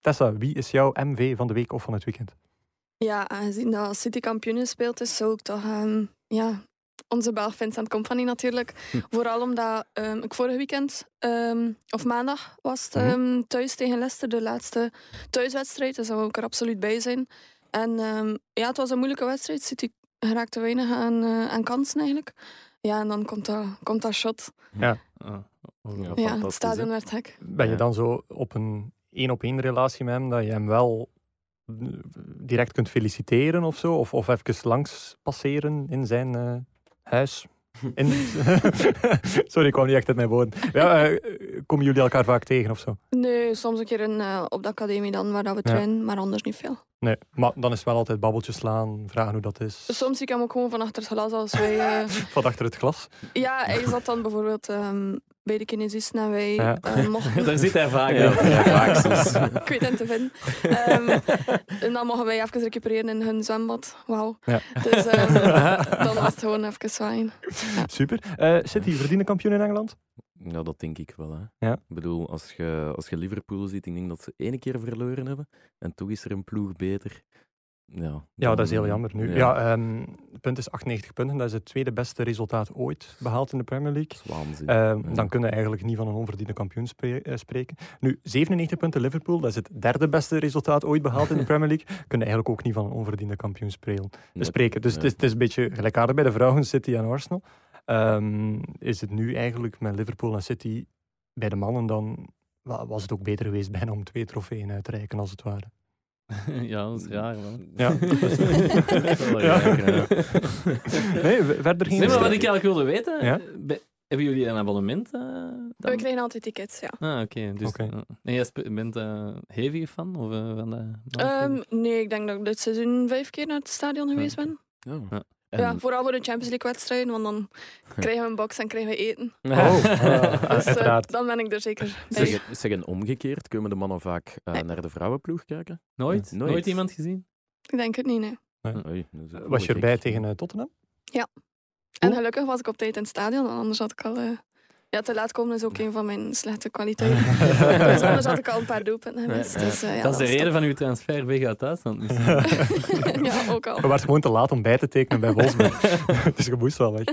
Tessa, wie is jouw MV van de week of van het weekend?
Ja, aangezien dat City kampioenen speelt, is zou ik toch... ehm, ja, onze Belg Vincent Company natuurlijk.
Hm.
Vooral omdat ehm, ik vorig weekend, ehm, of maandag, was
Hm.
het
Mhm.
ehm, thuis tegen Leicester. De laatste thuiswedstrijd, dus daar wou ik er absoluut bij zijn. En ehm, ja, het was een moeilijke wedstrijd. City raakte weinig aan, eh, aan kansen eigenlijk. Ja, en dan komt dat, komt dat shot.
Ah, oh.
Ja.
Ja, het
fantastisch,
stadion werd hek.
Ben je
Ja.
dan zo op een één-op-één relatie met hem, dat je hem wel eh, direct kunt feliciteren of zo? Of, of even langs passeren in zijn eh, (laughs) huis? In... Sorry, ik kwam niet echt uit mijn woorden. Ja, eh, komen jullie elkaar vaak tegen of zo?
Nee, soms een keer in, eh, op de academie dan, waar dat we
Ja.
trainen, maar anders niet veel.
Nee, maar dan is het wel altijd babbeltjes slaan, vragen hoe dat is. (laughs)
Soms zie ik hem ook gewoon van achter het glas als wij...
(laughs)
eh,
Van achter het glas.
ja, hij zat dan bijvoorbeeld ehm, bij de kinesisten en wij
Ja.
eh,
(laughs)
mochten...
Daar zit hij vaak.
Ja,
hè.
(laughs)
ja, vaak soms.
ik weet hem te vinden. Ehm, en dan mogen wij even recupereren in hun zwembad. Wauw.
Ja.
Dus ehm, dan was het gewoon even zwaaien.
Super. Eh City, verdiende kampioen in Engeland?
Ja, dat denk ik wel. Hè.
Ja.
Ik bedoel, als je, als je Liverpool ziet, ik denk dat ze één keer verloren hebben. En toch is er een ploeg beter. Ja,
Ja, dat is
dan-
heel jammer nu. Ja. ehm, het punt is 98 punten. Dat is het tweede beste resultaat ooit behaald in de Premier League.
Dat is waanzin.
Ehm,
Ja.
Dan kunnen we eigenlijk niet van een onverdiende kampioen spre- eh, spreken. Nu, 97 punten Liverpool, dat is het derde beste resultaat ooit behaald in
(laughs)
de Premier League. Kunnen eigenlijk ook niet van een onverdiende kampioen spreel-
Nee.
spreken. Dus
Ja.
het, is, het is een beetje gelijkaardig bij de vrouwen, City en Arsenal. Ehm, is het nu eigenlijk met Liverpool en City bij de mannen dan... wa- Was het ook beter geweest bijna om twee trofeeën uit te reiken, als het ware?
(laughs)
Ja, dat is raar, man.
Ja.
Wel
Ja.
gelijk, ja.
Nee, we- verder geen...
Nee, maar wat ik eigenlijk wilde weten,
Ja?
be- hebben jullie een abonnement? eh, dan?
We krijgen altijd tickets, ja.
Ah, oké. Dus,
Oké.
eh, en jij spe- bent eh hevige fan? Of, eh, van de...
Ehm, nee, ik denk dat ik dit seizoen vijf keer naar het stadion geweest ben.
Ja.
Ja.
En-
Ja, vooral voor de Champions League wedstrijden, want dan krijgen we een box en krijgen we eten.
(laughs)
Oh, eh,
Dus eh,
uiteraard.
dan ben ik er zeker bij.
Zeg, zeg en omgekeerd, komen de mannen vaak eh,
Nee.
naar de vrouwenploeg kijken?
nooit?
Nooit.
nooit? iemand gezien?
Ik denk het niet, nee.
Oei, dat is ook wel
Was je
gek.
erbij
(laughs)
tegen eh, Tottenham?
En
Hoe?
gelukkig was ik op tijd in het stadion, want anders had ik al... eh, Ja, te laat komen is ook een van mijn slechte kwaliteiten.
(laughs)
dus anders had ik al een paar doelpunten gemist.
Ja, ja.
Dus, eh, ja,
dat is de reden
top.
van uw transfer weg uit Duitsland. dus-
(laughs)
misschien.
ja,
(laughs)
ook al.
Je werd gewoon te laat om bij te tekenen bij Wolfsburg. (laughs) dus je moest wel weg.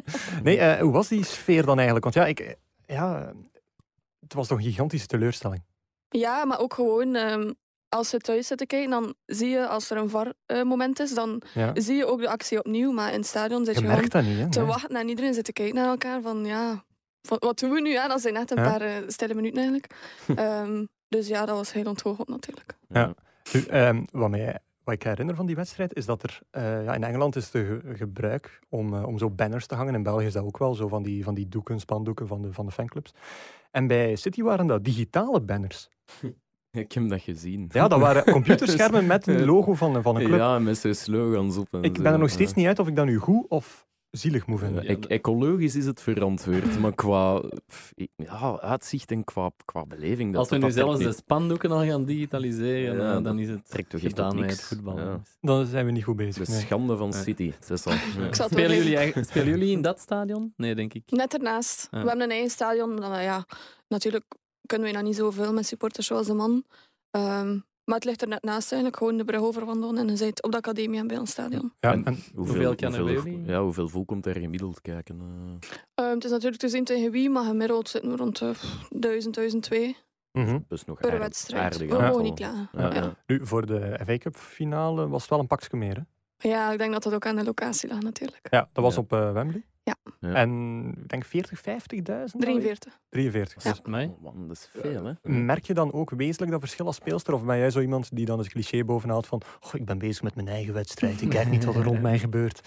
Nee, eh, hoe was die sfeer dan eigenlijk? Want ja, ik, eh, ja, het was toch een gigantische teleurstelling.
Ja, maar ook gewoon... ehm, als ze thuis zitten kijken, dan zie je als er een VAR-moment is, dan
Ja.
zie je ook de actie opnieuw. Maar in het stadion zit
Je
je gewoon
merkt dat niet, hè?
te
Nee.
wachten en iedereen zit te kijken naar elkaar van ja, van, wat doen we nu? Ja, dat zijn net een
Ja.
paar eh, stille minuten eigenlijk. Ehm, dus ja, dat was heel onthoogend natuurlijk.
Ja. Nu, ehm, wat, mij, wat ik herinner van die wedstrijd is dat er eh, ja, in Engeland is het ge- gebruik om, eh, om zo banners te hangen. In België is dat ook wel zo van die, van die doeken, spandoeken van de, van de fanclubs. En bij City waren dat digitale banners.
Ik heb dat gezien.
Ja, dat waren computerschermen met een
Ja.
logo van, een- van een club.
Ja, met zijn slogans op. En
Ik
zo.
ben er nog steeds
Ja.
niet uit of ik dat nu goed of zielig moet vinden.
Ja.
Eh, Ec- ecologisch is het verantwoord, maar qua pff, ik- ja, uitzicht en qua, qua beleving... Dat,
Als we nu
dat trekt
zelfs de
niet-
spandoeken al gaan digitaliseren,
Ja,
eh,
dat
dan is het
trekt toch echt
gedaan
op
met
niks.
het voetbal. dus.
Ja.
Dan zijn we niet goed bezig.
De
nee.
schande van
Ja.
City, dat
(laughs)
is al... Ja.
Ik zal het wel
Spelen,
even-
jullie, eigen- spelen jullie in dat stadion? Nee, denk ik.
Net ernaast.
Ja.
We hebben een eigen stadion. Omdat we, ja, natuurlijk kunnen we nog niet zoveel met supporters zoals de man. Ehm, maar het ligt er net naast eigenlijk. Gewoon de brug over wandelen en je zit op de academie en bij ons stadion.
Ja,
En-
en
Hoeveel kan er bij jullie?
Ja, hoeveel volk komt daar gemiddeld kijken? eh,
Ehm, het is natuurlijk te zien tegen wie, maar gemiddeld zitten we rond eh, de 1000, 1002
mhm.
dus nog
per
aard-
wedstrijd.
aardig
We mogen
aantal.
niet klagen.
Ja,
Ja.
ja.
Nu, voor de FA Cup finale was het wel een pakje meer. Hè?
Ja, ik denk dat dat ook aan de locatie lag natuurlijk.
Ja, dat was
Ja.
op eh, Wembley.
Ja.
Ja.
En ik denk 40, 50.000?
43.
43.
Ja.
Dus
Mij?
Oh, man, dat is veel, hè?
merk je dan ook wezenlijk dat verschil als speelster? Of ben jij zo iemand die dan het cliché bovenhaalt van "Goh, ik ben bezig met mijn eigen wedstrijd, ik kijk niet wat er rond mij gebeurt.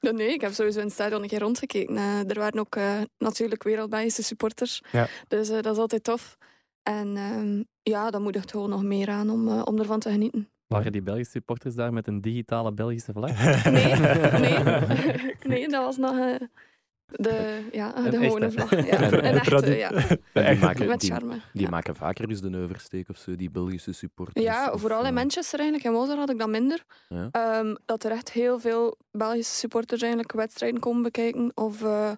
Nou, nee, ik heb sowieso in het stadion een keer rondgekeken. Eh, er waren ook eh, natuurlijk wereldbijste supporters.
Ja.
Dus eh, dat is altijd tof. En ehm, ja, dat moedigt gewoon nog meer aan om, eh, om ervan te
(laughs)
genieten.
Waren die Belgische supporters daar met een digitale Belgische (laughs) vlag?
Nee,
(laughs)
nee, (laughs) nee, dat was nog eh, de, ja, de
Een
gewone
echte.
vlag. Ja,
(laughs)
Een
een echte,
tradi-
ja.
En die maken,
Met
die,
charme.
die
ja.
maken vaker dus de oversteek of zo, die Belgische supporters.
Ja,
of,
vooral in
eh,
Manchester eigenlijk. In Wolter had ik dat minder.
Ja.
Ehm, dat er echt heel veel Belgische supporters eigenlijk wedstrijden komen bekijken. Of, eh,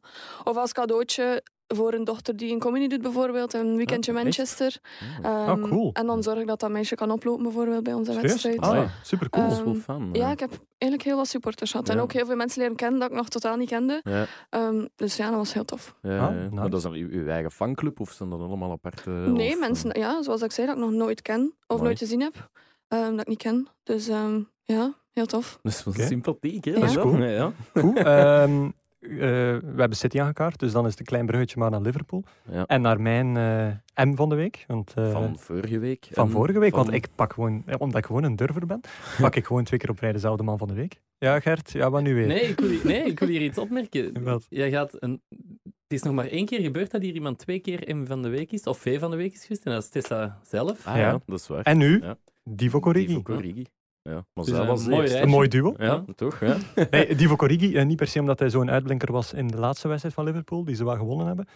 of als cadeautje voor een dochter die een communie doet bijvoorbeeld. Een weekendje
Ah, echt?
Manchester.
Oh,
Ah,
Ehm,
cool.
En dan zorg ik dat dat meisje kan oplopen bijvoorbeeld bij onze
Serieus?
wedstrijd.
Ah,
Ah, super cool.
dat is wel
ehm,
fun. hè.
Ja, ik heb eigenlijk heel wat supporters gehad. En
Ja.
ook heel veel mensen leren kennen dat ik nog totaal niet kende.
Ja,
Ehm, dus ja, dat was heel tof.
ja,
Ah,
ja.
nice.
Maar dat is dan uw, uw eigen fanclub of zijn dat allemaal aparte...
Nee,
of,
mensen, ja, zoals ik zei, dat ik nog nooit ken. Of
Mooi.
nooit gezien heb. ehm, dat ik niet ken. Dus ehm, ja, heel tof.
Dat is wel
Oké.
sympathiek, hè?
Dat is
cool.
Ja, ja.
Goed, ehm, eh, we hebben City aangekaart, dus dan is het een klein bruggetje maar naar Liverpool.
Ja.
En naar mijn eh, M van de week. Want, eh,
(laughs) Van vorige week.
van
en
vorige week, want
van-
ik pak gewoon, eh, omdat ik gewoon een durver ben, pak ik gewoon twee keer op rij dezelfde man van de week. Ja, Gert, ja, wat nu weer?
Nee, ik wil, hier- nee, ik wil hier iets opmerken.
(laughs) Wat?
Jij gaat een... Het is nog maar één keer gebeurd dat hier iemand twee keer M van de week is, of V van de week is geweest, en dat is Tessa zelf.
Ah
Ja.
ja, dat is waar.
En nu,
Ja.
Divo Corrigi.
Die Corrigi. Ja, maar
Dus
zij
een
was
mooi
eerst.
Een mooi duo.
Ja, toch? Ja.
(laughs) Nee, Divo Corrigi, eh, niet per se omdat hij zo'n uitblinker was in de laatste wedstrijd van Liverpool, die ze wel gewonnen hebben.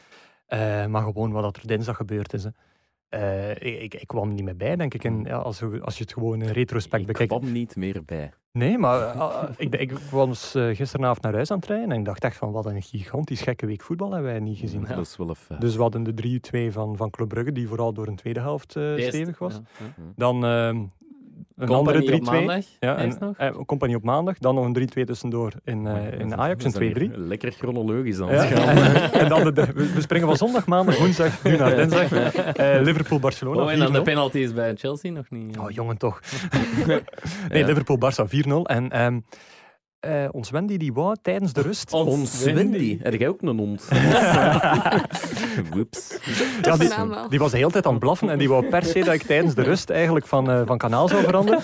Eh, maar gewoon wat er dinsdag gebeurd is. Hè. Eh, ik, ik kwam niet meer bij, denk ik. En,
Hmm.
ja, als, je- als je het gewoon in retrospect
Ik
bekijkt.
kwam niet meer bij.
Nee, maar eh, ah, ik, ik was eh, gisteravond naar huis aan het rijden en ik dacht echt van wat een gigantisch gekke week voetbal hebben wij niet gezien.
Dat is wel een feit.
Dus we hadden de 3-2 van, van Club Brugge, die vooral door een tweede helft eh,
Eerst-
stevig was.
ja, ja.
Dan ehm, een
Company op
andere 3-2.
maandag,
Ja,
eerst
en- (laughs)
nog.
eh, compagnie op maandag. Dan nog een 3-2 tussendoor in,
Oh,
eh, in Ajax,
We zijn hier
een 2-3.
Lekker chronologisch aan
Ja. (laughs)
het gaan.
en dan de, de- we we springen van zondag, maandag, woensdag, nu naar
(laughs)
dinsdag. Eh, Liverpool-Barcelona.
Oh, en dan de
4-0.
penalties bij Chelsea nog niet.
Oh, jongen,
(laughs)
toch. nee, Liverpool-Barça 4-0. En ehm, eh, ons Wendy, die wou tijdens de rust...
Oh,
Ons Wendy. Heb jij ook
(laughs)
een hond? Woeps.
Ja,
Ah,
dus- die,
naam wel.
die was de hele tijd aan het blaffen en die wou per se dat ik tijdens de rust eigenlijk van, eh, van kanaal zou veranderen.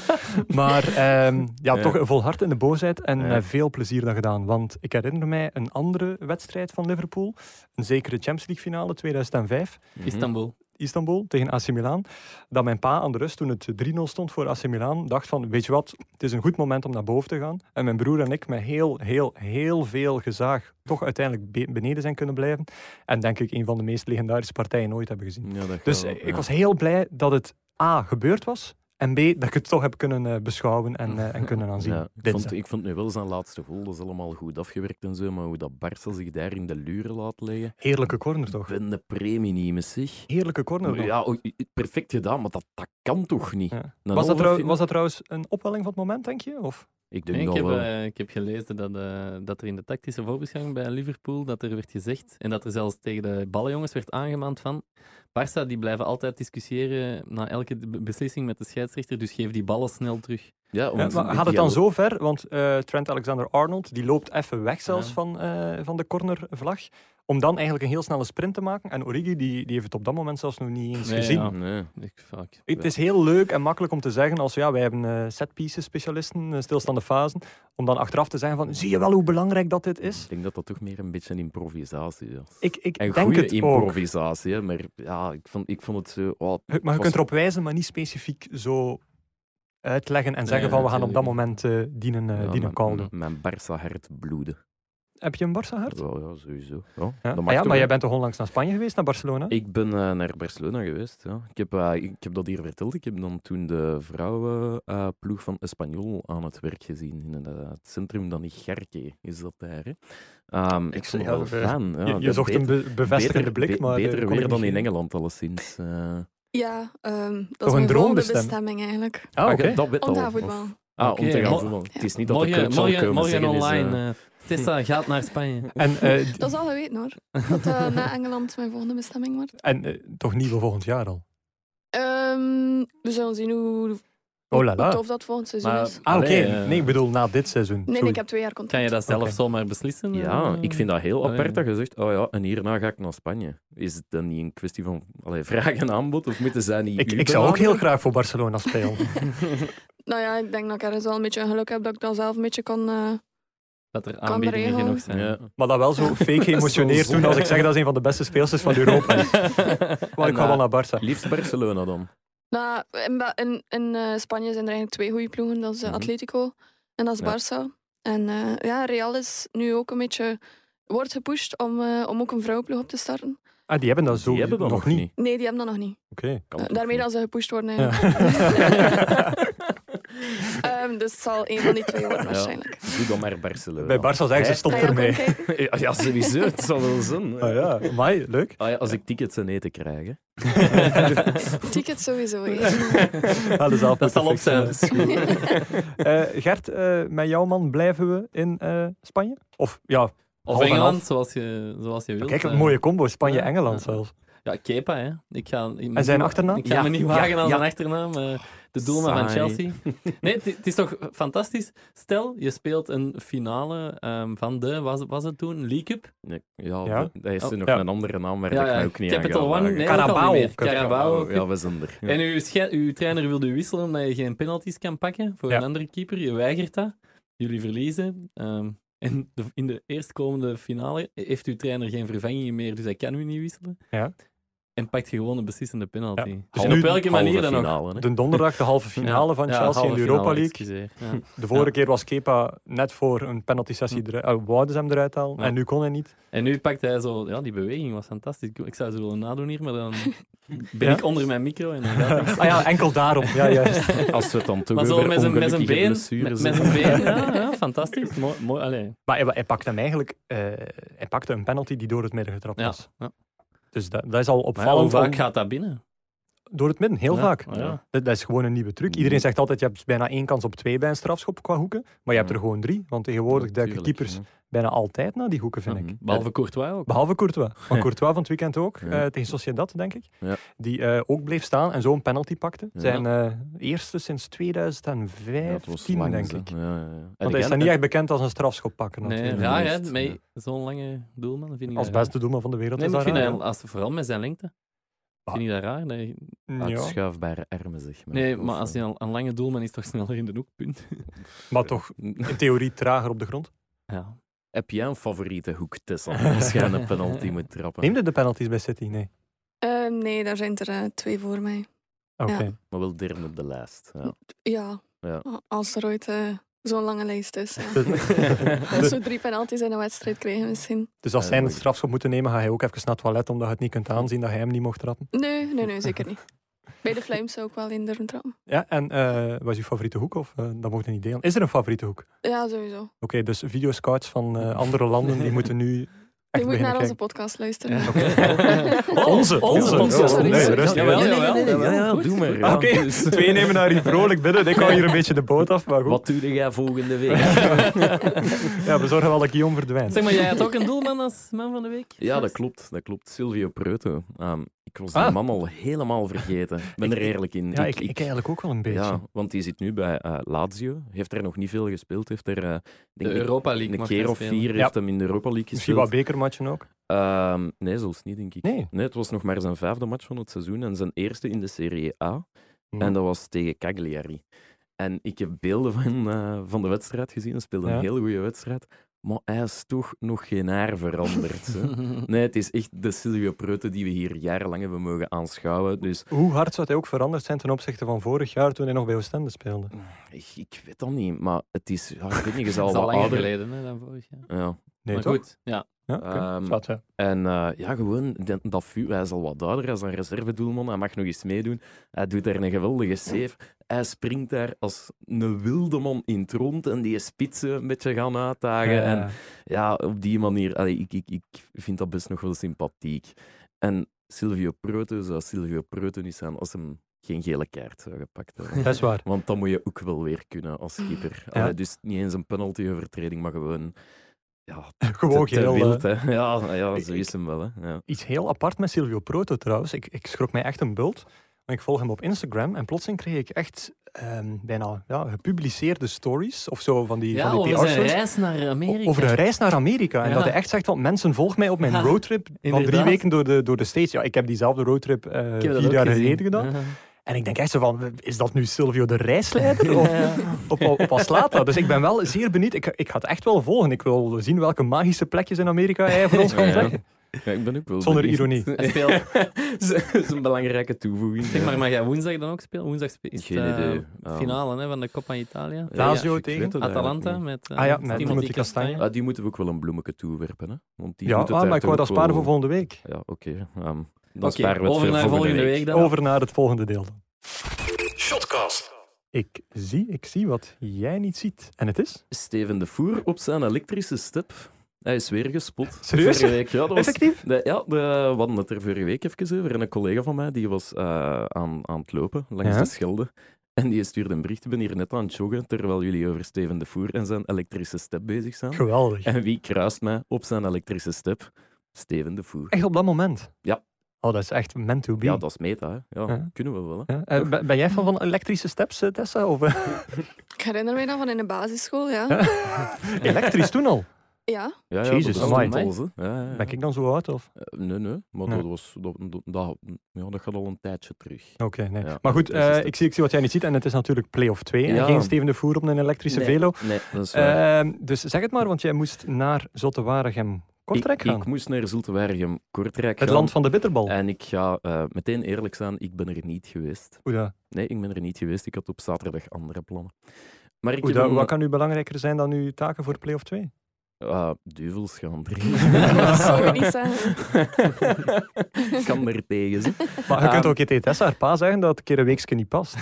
Maar ehm, ja,
Ja.
toch volhard in de boosheid en
Ja.
eh, veel plezier dan gedaan. Want ik herinner mij een andere wedstrijd van Liverpool, een zekere Champions League finale 2005,
Mhm.
Mhm. Istanbul.
Istanbul tegen AC Milan, dat mijn pa aan de rust toen het 3-0 stond voor AC Milan, dacht van, weet je wat, het is een goed moment om naar boven te gaan. En mijn broer en ik met heel, heel, heel veel gezaag toch uiteindelijk be- beneden zijn kunnen blijven. En denk ik een van de meest legendarische partijen ooit hebben gezien.
Ja, dat
Dus
gaat wel,
eh, ik
ja.
was heel blij dat het A gebeurd was en B dat ik het toch heb kunnen eh, beschouwen en, eh, en kunnen aanzien.
Ja, ik,
Dit
vond,
zijn.
ik vond nu wel zijn laatste goal, dat is allemaal goed afgewerkt en zo, maar hoe dat Barca zich daar in de luren laat leggen.
Heerlijke corner toch?
Ben de premie niet meer, zeg.
Heerlijke corner. toch?
Ja, o- perfect gedaan, maar dat, dat kan toch niet?
Ja. Was,
Een
dat
halve
trouw-
finale-
was dat trouwens een opwelling van het moment, denk je? Of?
Ik denk
Nee, ik,
dat
heb,
wel.
eh, ik heb gelezen dat, eh, dat er in de tactische voorbeschouwing bij Liverpool dat er werd gezegd, en dat er zelfs tegen de ballenjongens werd aangemaand van Barça, die blijven altijd discussiëren na elke be- beslissing met de scheidsrechter, dus geef die ballen snel terug.
ja,
Ja,
want
maar
die
gaat het dan
dialo-
zo ver? Want eh, Trent Alexander-Arnold die loopt even weg zelfs
Ja.
van, eh, van de cornervlag. Om dan eigenlijk een heel snelle sprint te maken. En Origi die, die heeft het op dat moment zelfs nog niet eens
Nee,
gezien.
ja.
Nee.
Ik, fuck.
Het is heel leuk en makkelijk om te zeggen als ja, wij hebben eh setpieces specialisten, eh, stilstaande fasen, om dan achteraf te zeggen van zie je wel hoe belangrijk dat dit is?
Ik denk dat dat toch meer een beetje een improvisatie is.
Ik, ik
Een
denk
goede
het ook.
improvisatie, hè, maar ja, ik vond, ik vond het zo... oh,
Maar je
was-
kunt erop wijzen, maar niet specifiek zo uitleggen en zeggen
ja,
van we gaan op dat
natuurlijk.
moment eh dienen, eh
ja,
dienen
mijn-
call doen.
Mijn Barca hart bloeden.
Heb je een Barça-hart?
Wel, ja, sowieso. Ja, dat
Ja, Ah ja
mag toch
maar jij
wel.
bent toch onlangs naar Spanje geweest, naar Barcelona?
Ik ben eh, naar Barcelona geweest. Ja. Ik, heb, eh, ik heb dat hier verteld. Ik heb dan toen de vrouwenploeg van Espanyol aan het werk gezien. In het, eh, het centrum dan in Gerke is dat daar. Hè. Ehm, ik
Ik
vond
zie-
dat wel
ja, we-
fijn. Ja,
je je
dat
zocht
beter-
een be- bevestigende
beter-
blik,
be-
maar... eh,
beter
kon
weer
ik
dan
niet Ah,
in
geven.
Engeland, alleszins. eh.
Ja,
Toch een
ehm, dat is mijn volgende
droombestemming?
bestemming eigenlijk.
Ah,
Ah,
oké.
dat weet
Om
al,
daar
of-
voetbal.
Ah, om
Oké,
te gaan
mo-
voetballen. Het is niet dat de
Morgen,
coach al
morgen,
komen
morgen
zeggen, is, eh, Ah,
online. eh, Tessa gaat naar
(laughs)
Spanje.
En, eh,
(laughs) Dat is al
(laughs)
geweten hoor. Dat eh, na Engeland mijn volgende bestemming wordt.
en eh, toch niet voor volgend jaar al?
Ehm, we zullen zien hoe, hoe,
Oh la la.
eh,
tof dat volgend seizoen
Maar-
is.
Ah, oké.
Allee, eh.
Nee, ik bedoel na dit seizoen.
Nee, nee,
Sorry.
ik heb twee jaar
Kan
contract.
je dat zelf
Oké.
zomaar beslissen?
Ja,
eh?
ik vind dat heel
Allee.
apart dat je zegt, oh ja, en hierna ga ik naar Spanje. Is het dan niet een kwestie van allee, vraag en aanbod, of moeten zij niet
Ik,
u
ik zou ook
benaderen?
heel graag voor Barcelona spelen.
(laughs) Nou ja, ik denk dat ik ergens wel een beetje geluk heb dat ik dat zelf een beetje kan. eh,
Dat er
Kan
aanbiedingen
regelen.
genoeg zijn. (laughs)
Ja.
(laughs)
(laughs)
maar (laughs) dat wel zo fake emotioneerd
zonde.
doen als ik zeg dat is een van de beste speelsters van Europa. (laughs)
(laughs)
is. Maar ik
En,
ga wel
eh,
naar Barça.
Liefst Barcelona dan.
Nou, in, Ba- in, in eh, Spanje zijn er eigenlijk twee goede ploegen. Dat is eh,
Mhm.
Atletico en dat is
Ja.
Barça. En eh, ja, Real is nu ook een beetje... Wordt gepusht om, eh, om ook een vrouwenploeg op te starten.
Ah, die hebben dat zo
Die hebben dat
nog niet.
Nee, die hebben dat nog niet.
Oké.
Kan
Eh,
toch
daarmee
niet?
dat ze gepusht worden
Ja.
(laughs)
eigenlijk.
(laughs)
Ehm, dus het zal een van die twee worden
Ja.
waarschijnlijk. Ah
Doe dan maar Barcelona.
Bij Barça zeggen ze
Hè?
stop
Ah,
Ga je ook
ermee.
omkijken?
(laughs) Ja, ja, sowieso. Het zal wel zin.
Ah (laughs) ja, amai, leuk.
Ah ja, als ik tickets en eten krijg. hè.
Tickets sowieso. ja.
Ah, dus
Dat zal op zijn.
Eh, Gert, eh, met jouw man blijven we in eh, Spanje? Of ja,
Of
Half en
Engeland,
half.
zoals je, zoals je wilt.
kijk, een
eh.
mooie combo.
ja,
Spanje-Engeland
ja.
zelfs.
Ja, Kepa, hè. Ik ga, ik
En
moet-
zijn achternaam?
Ik ga
Ja,
me niet
ja,
wagen
ja.
aan zijn achternaam. eh, de doelman van
Saai.
Chelsea. Nee, het het is toch fantastisch. Stel, je speelt een finale ehm, van de, was, was het toen, League Cup?
Ja, ja,
Ja?
dat is er
Oh.
nog
Ja.
een andere naam waar
Ja,
ik
ja,
mij ook niet aan
Capital
ga
One,
wagen.
nee.
Carabao.
ook al niet meer.
Cup.
Carabao.
Ja, we zijn er. Ja.
En uw, sche- uw trainer wilde u wisselen omdat je geen penalties kan pakken voor
Ja.
een andere keeper. Je weigert dat. Jullie verliezen. Ehm, en de- in de eerstkomende finale heeft uw trainer geen vervanging meer, dus hij kan u niet wisselen.
Ja.
En pakt je gewoon een benslissende penalty.
Ja.
Dus
En
op
nu-
welke manier dan ook.
finale, hè.
De donderdag de halve finale van
Ja,
Chelsea in
halve
de
finale,
Europa League.
excuseer. Ja.
De vorige
Ja. Hm.
keer was Kepa net voor een penalty sessie eruit. ah, wouden ze hem eruit halen.
Ja.
En nu kon hij niet.
En nu pakt hij zo... Ja, die beweging was fantastisch. Ik- Ik zou ze willen nadoen hier, maar dan ben
Ja?
ik onder mijn micro en dan
(laughs)
gaat het.
Ah ja, enkel daarom. Ja, juist.
(laughs)
Als we het dan toch
Maar zo
over
met zijn, met zijn
ongelukkige
been, met,
blessures
met zijn
hebben. (laughs)
been, ja, ja, fantastisch. Mooi, mooi allee.
Maar hij, hij pakte hem eigenlijk eh, hij pakte een penalty die door het midden getrapt
Ja.
was.
ja.
Dus dat, dat is al
Maar ja, hoe
opvallend.
vaak
om-
gaat dat binnen?
Door het midden, heel
Ja,
vaak.
ja. Mm.
Dat, dat is gewoon een nieuwe truc. Iedereen zegt altijd, je hebt bijna één kans op twee bij een strafschop qua hoeken. Maar je hebt
Mm.
er
Ja.
gewoon drie. Want tegenwoordig duiken
Tuurlijk,
keepers
ja.
bijna altijd naar die hoeken, vind ik. Eh,
Mhm.
Mm-hmm. Behalve Courtois ook.
Behalve
(laughs)
Courtois. Van Courtois van het weekend ook,
Ja.
eh, tegen Sociedad, denk ik.
Ja.
Die eh, ook bleef staan en zo'n penalty pakte.
Ja.
Zijn eh, eerste sinds
Ja, het was
2015,
lang,
denk
hè.
ik.
Ja, ja, ja.
Want hij
Heb
is
jij-
dan niet echt bekend als een strafschop pakken.
Nee,
natuurlijk.
raar hè,
juist,
met
ja.
zo'n lange doelman vind ik
Als
dat raar.
beste doelman van de wereld
Nee,
is
maar ik
dat
vind
raar,
dat, als, vooral met zijn lengte. Vind ik dat raar? dat je-
hè? Ja.
Uitschuifbare armen, zeg maar.
Nee,
Of,
maar als
eh,
je een, een lange doelman is, toch sneller in de hoek, punt.
Maar toch in theorie trager op de grond.
Ja.
(laughs) Heb jij een favoriete hoek, Tessa? (laughs) Als jij een penalty moet trappen.
Neemde de penalties bij City? Nee.
Ehm, nee, daar zijn er eh, twee voor mij.
Oké.
Ja.
Maar wel derde op de lijst.
(laughs)
Ja.
Ja,
Ja.
als er ooit eh, zo'n lange lijst is. Ja. Als
Dus,
we drie penalties in een wedstrijd krijgen misschien.
dus als zij een strafschop moeten nemen, ga hij ook even naar het toilet, omdat je het niet kunt aanzien dat hij hem niet mocht trappen.
Nee, nee, nee, zeker niet. Bij de Flames zou ik wel in durven trappen.
Ja, en eh was je favoriete hoek? Of eh, dat mocht je niet delen. Is er een favoriete hoek? Oké,
Ja, sowieso.
dus videoscouts van eh, andere landen, die moeten nu
Je
echt
moet
beginnen
naar
kijken.
onze podcast luisteren.
(laughs)
(laughs)
Oh, onze, onze,
onze.
Oh,
Sorry,
Nee,
sorry.
rustig.
Jawel,
Nee, nee,
jawel,
nee, nee,
jawel.
nee.
ja, doe maar.
Ah, Oké, twee nemen daar hier vrolijk binnen. Ik hou hier een beetje de boot af, maar goed. (laughs)
Wat doe jij volgende week?
Ja, we zorgen wel dat Guillaume verdwijnt.
Zeg maar, jij had ook een doelman als man van de week?
ja, dat klopt. Dat klopt. Silvio Preuten. Ehm, ik was die
Ah.
man al helemaal vergeten. Ik ben
Ik-
er eerlijk in.
Ja, ik, ik eigenlijk ook wel een beetje.
ja, want die zit nu bij eh, Lazio. Heeft er nog niet veel gespeeld. Heeft er eh,
De
denk ik,
Europa League
een
mag
keer
hij
of
spelen.
vier heeft hem in de Europa League
Misschien
gespeeld.
wat bekermatchen ook.
Ehm, nee, zelfs niet, denk ik.
Nee.
Nee, het was nog maar zijn vijfde match van het seizoen en zijn eerste in de Serie A.
Hmm.
Hm.
En dat was tegen Cagliari. En ik heb beelden van, eh, van de wedstrijd gezien. Hij speelde
Ja.
een hele goede wedstrijd. Maar hij is toch nog geen haar veranderd. hè. Nee, het is echt de Silvio Preuten die we hier jarenlang hebben mogen aanschouwen. Dus
Hoe hard zou hij ook veranderd zijn ten opzichte van vorig jaar toen hij nog bij Oostende speelde?
ik, ik weet dat niet. Maar het is, ja, ik weet niet, je zal
Dat is al
wat
langer
ouder.
geleden hè, dan vorig jaar.
Ja,
Nee,
maar
toch?
goed, ja.
Ja, oké.
Ehm,
Zwart, ja.
En eh, ja, gewoon, dat, dat vuur, hij is al wat duidelijk als een reservedoelman. Hij mag nog eens meedoen. Hij doet daar een geweldige save. Hij springt daar als een wilde man in het rond en die spitsen een beetje gaan uitdagen. En
Eh,
ja, op die manier, allee, ik, ik, ik vind dat best nog wel sympathiek. En Silvio Proto zou Silvio Proto niet zijn als hem geen gele kaart zou gepakt
(laughs)
hebben.
dat is
(laughs)
waar.
Want dat moet je ook wel weer kunnen als keeper.
Ja.
Allee, dus niet eens een penalty-overtreding, maar gewoon... Ja,
Gewoon
te, te
geheel,
wild,
eh,
hè. Ja, ja, zo
ik-
is hem wel. Hè. Ja.
Iets heel apart met Silvio Proto trouwens. Ik, ik schrok mij echt een bult. Want ik volg hem op Instagram en plotseling kreeg ik echt ehm, bijna ja, gepubliceerde stories of zo van die,
ja,
van die
over zijn
PR-stories.
reis naar Amerika.
Over een reis naar Amerika. En
Ja.
dat hij echt zegt, van, mensen volg mij op mijn
Ja,
roadtrip van drie
inderdaad.
weken door de, door de States. Ja, ik heb diezelfde roadtrip eh,
Ik heb dat
vier
ook
jaar
gezien.
geleden gedaan.
Ja.
En ik denk echt zo van, is dat nu Silvio de reisleider? Of,
Ja.
op, op, op Aslata. Dus ik ben wel zeer benieuwd. Ik, ik ga het echt wel volgen. Ik wil zien welke magische plekjes in Amerika hij
(laughs)
voor ons
Ja,
gaat
ja.
leggen.
Ja, ik ben ook wel
Zonder
benieuwd.
ironie.
Hij speelt,
dat
(laughs)
(laughs) is een belangrijke toevoeging.
zeg maar, mag jij woensdag dan ook spelen? Woensdag spe- is het,
Geen
eh,
idee. Ja.
finale hè, van de Coppa Italia.
Ja,
Lazio
ik
tegen
weet het eigenlijk
Atalanta
niet.
met, eh,
Ah ja, met Timothy
ik-
Castagne.
Ah, die moeten we ook wel een bloemetje toewerpen. Hè? Want die
Ja,
doet het
ah,
daar
maar ik
toch
wou dat
ook
sparen
wel-
voor volgende week.
Ja, oké. ehm, dan
Oké,
sparen we het
over
voor
naar volgende week dan.
Over naar het volgende deel dan.
Shotcast.
Ik zie, ik zie wat jij niet ziet. En het is?
Steven de Voer op zijn elektrische step. Hij is weer gespot.
Serieus?
Vorige week. Ja, dat was
Effectief?
De- ja, de, we hadden het er vorige week even over. En een collega van mij die was eh, aan, aan het lopen langs
Ja.
de Schelde. En die stuurde een bericht. Ik ben hier net aan het joggen terwijl jullie over Steven de Voer en zijn elektrische step bezig zijn.
Geweldig.
En wie kruist mij op zijn elektrische step? Steven de Voer.
Echt op dat moment?
Ja.
Oh, dat is echt meant to be.
Ja, dat is meta. Hè. Ja,
Ja.
Kunnen we wel. Hè.
Ja, eh, ben ben jij fan van elektrische steps, eh, Tessa? Of, eh,
(laughs)
Ik herinner mij dan van in de basisschool, ja.
Ja. elektrisch toen al?
Ja,
Ja, ja,
Jezus,
dat was
amai.
toen alles, hè. Ja, ja, ja.
Ben ik dan zo oud? Of?
Eh, Nee, nee. Maar
Nee.
dat was... Dat, dat, dat- ja, dat gaat al een tijdje terug.
Oké, nee.
Ja,
maar goed,
elektrische
eh,
steps.
ik, zie, ik zie wat jij niet ziet. En het is natuurlijk play-off 2. En
Ja.
geen Steven de Voer op een elektrische
Nee.
velo.
Nee, dat is waar.
Ehm, dus zeg het maar, want jij moest naar Zottewaregem Kortrijk
ik,
gaan.
ik moest naar Zultewaregem, Kortrijk
het
gaan.
land van de bitterbal.
En ik ga eh, meteen eerlijk zijn, ik ben er niet geweest.
Oeh, dat-
Nee, ik ben er niet geweest. Ik had op zaterdag andere plannen. Maar ik
oeh,
heb
dat-
een,
wat kan nu belangrijker zijn dan uw taken voor play-off
(laughs)
2?
eh, duvels (laughs) gaan
dat zou je
(laughs) drinken.
niet zeggen.
Ik kan er tegen zijn.
Maar je kunt
Ehm,
ook je tegen Tessa haar pa zeggen dat het een keer een weekje niet past.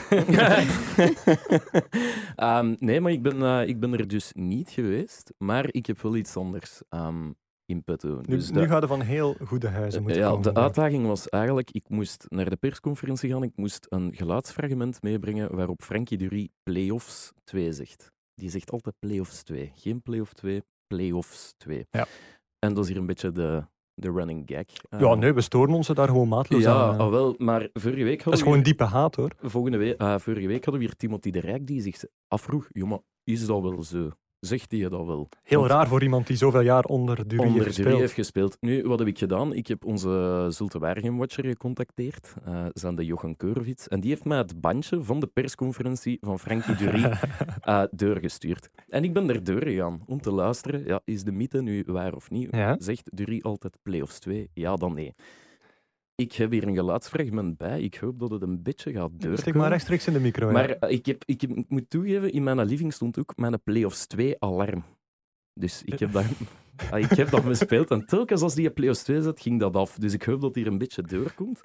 (laughs) Ehm, nee, maar ik ben, eh, ik ben er dus niet geweest. Maar ik heb wel iets anders ehm, in petto.
Nu,
Dus
nu
de-
gaan we van heel goede huizen moeten
ja,
komen.
de uitdaging was eigenlijk, ik moest naar de persconferentie gaan, ik moest een geluidsfragment meebrengen waarop Frankie Dury playoffs 2 zegt. Die zegt altijd playoffs 2. Geen playoff 2, playoffs 2.
Ja.
En dat is hier een beetje de, de running gag. Eh,
ja, nee, we storen ons er daar gewoon maatloos
Ja,
aan. eh.
ah, wel, maar vorige week
dat is
hadden we
gewoon diepe haat, hoor.
hier, volgende week, eh, vorige week hadden we hier Timothy de Rijk die zich afvroeg, jongen, is dat wel zo? Zegt hij dat wel?
Heel
Want-
raar voor iemand die zoveel jaar onder Durie
onder
heeft
de
gespeeld.
jury heeft gespeeld. Nu, wat heb ik gedaan? Ik heb onze Zulte Waregem-watcher gecontacteerd, eh zijn de Jochen Keurvits, en die heeft mij het bandje van de persconferentie van Frankie
(laughs)
Dury eh, doorgestuurd. En ik ben er doorgegaan om te luisteren, ja, is de mythe nu waar of niet?
ja?
Zegt Dury altijd playoffs 2? Ja, dan nee. Ik heb hier een geluidsfragment bij, ik hoop dat het een beetje gaat
Stik
doorkomen.
maar rechtstreeks in de micro. ja.
Maar eh, ik, heb, ik, heb- ik moet toegeven, in mijn living stond ook mijn Playoffs 2 alarm. Dus ik heb dat, ah, ik heb dat gespeeld. En telkens als die in Playoffs 2 zat, ging dat af. Dus ik hoop dat hier een beetje doorkomt.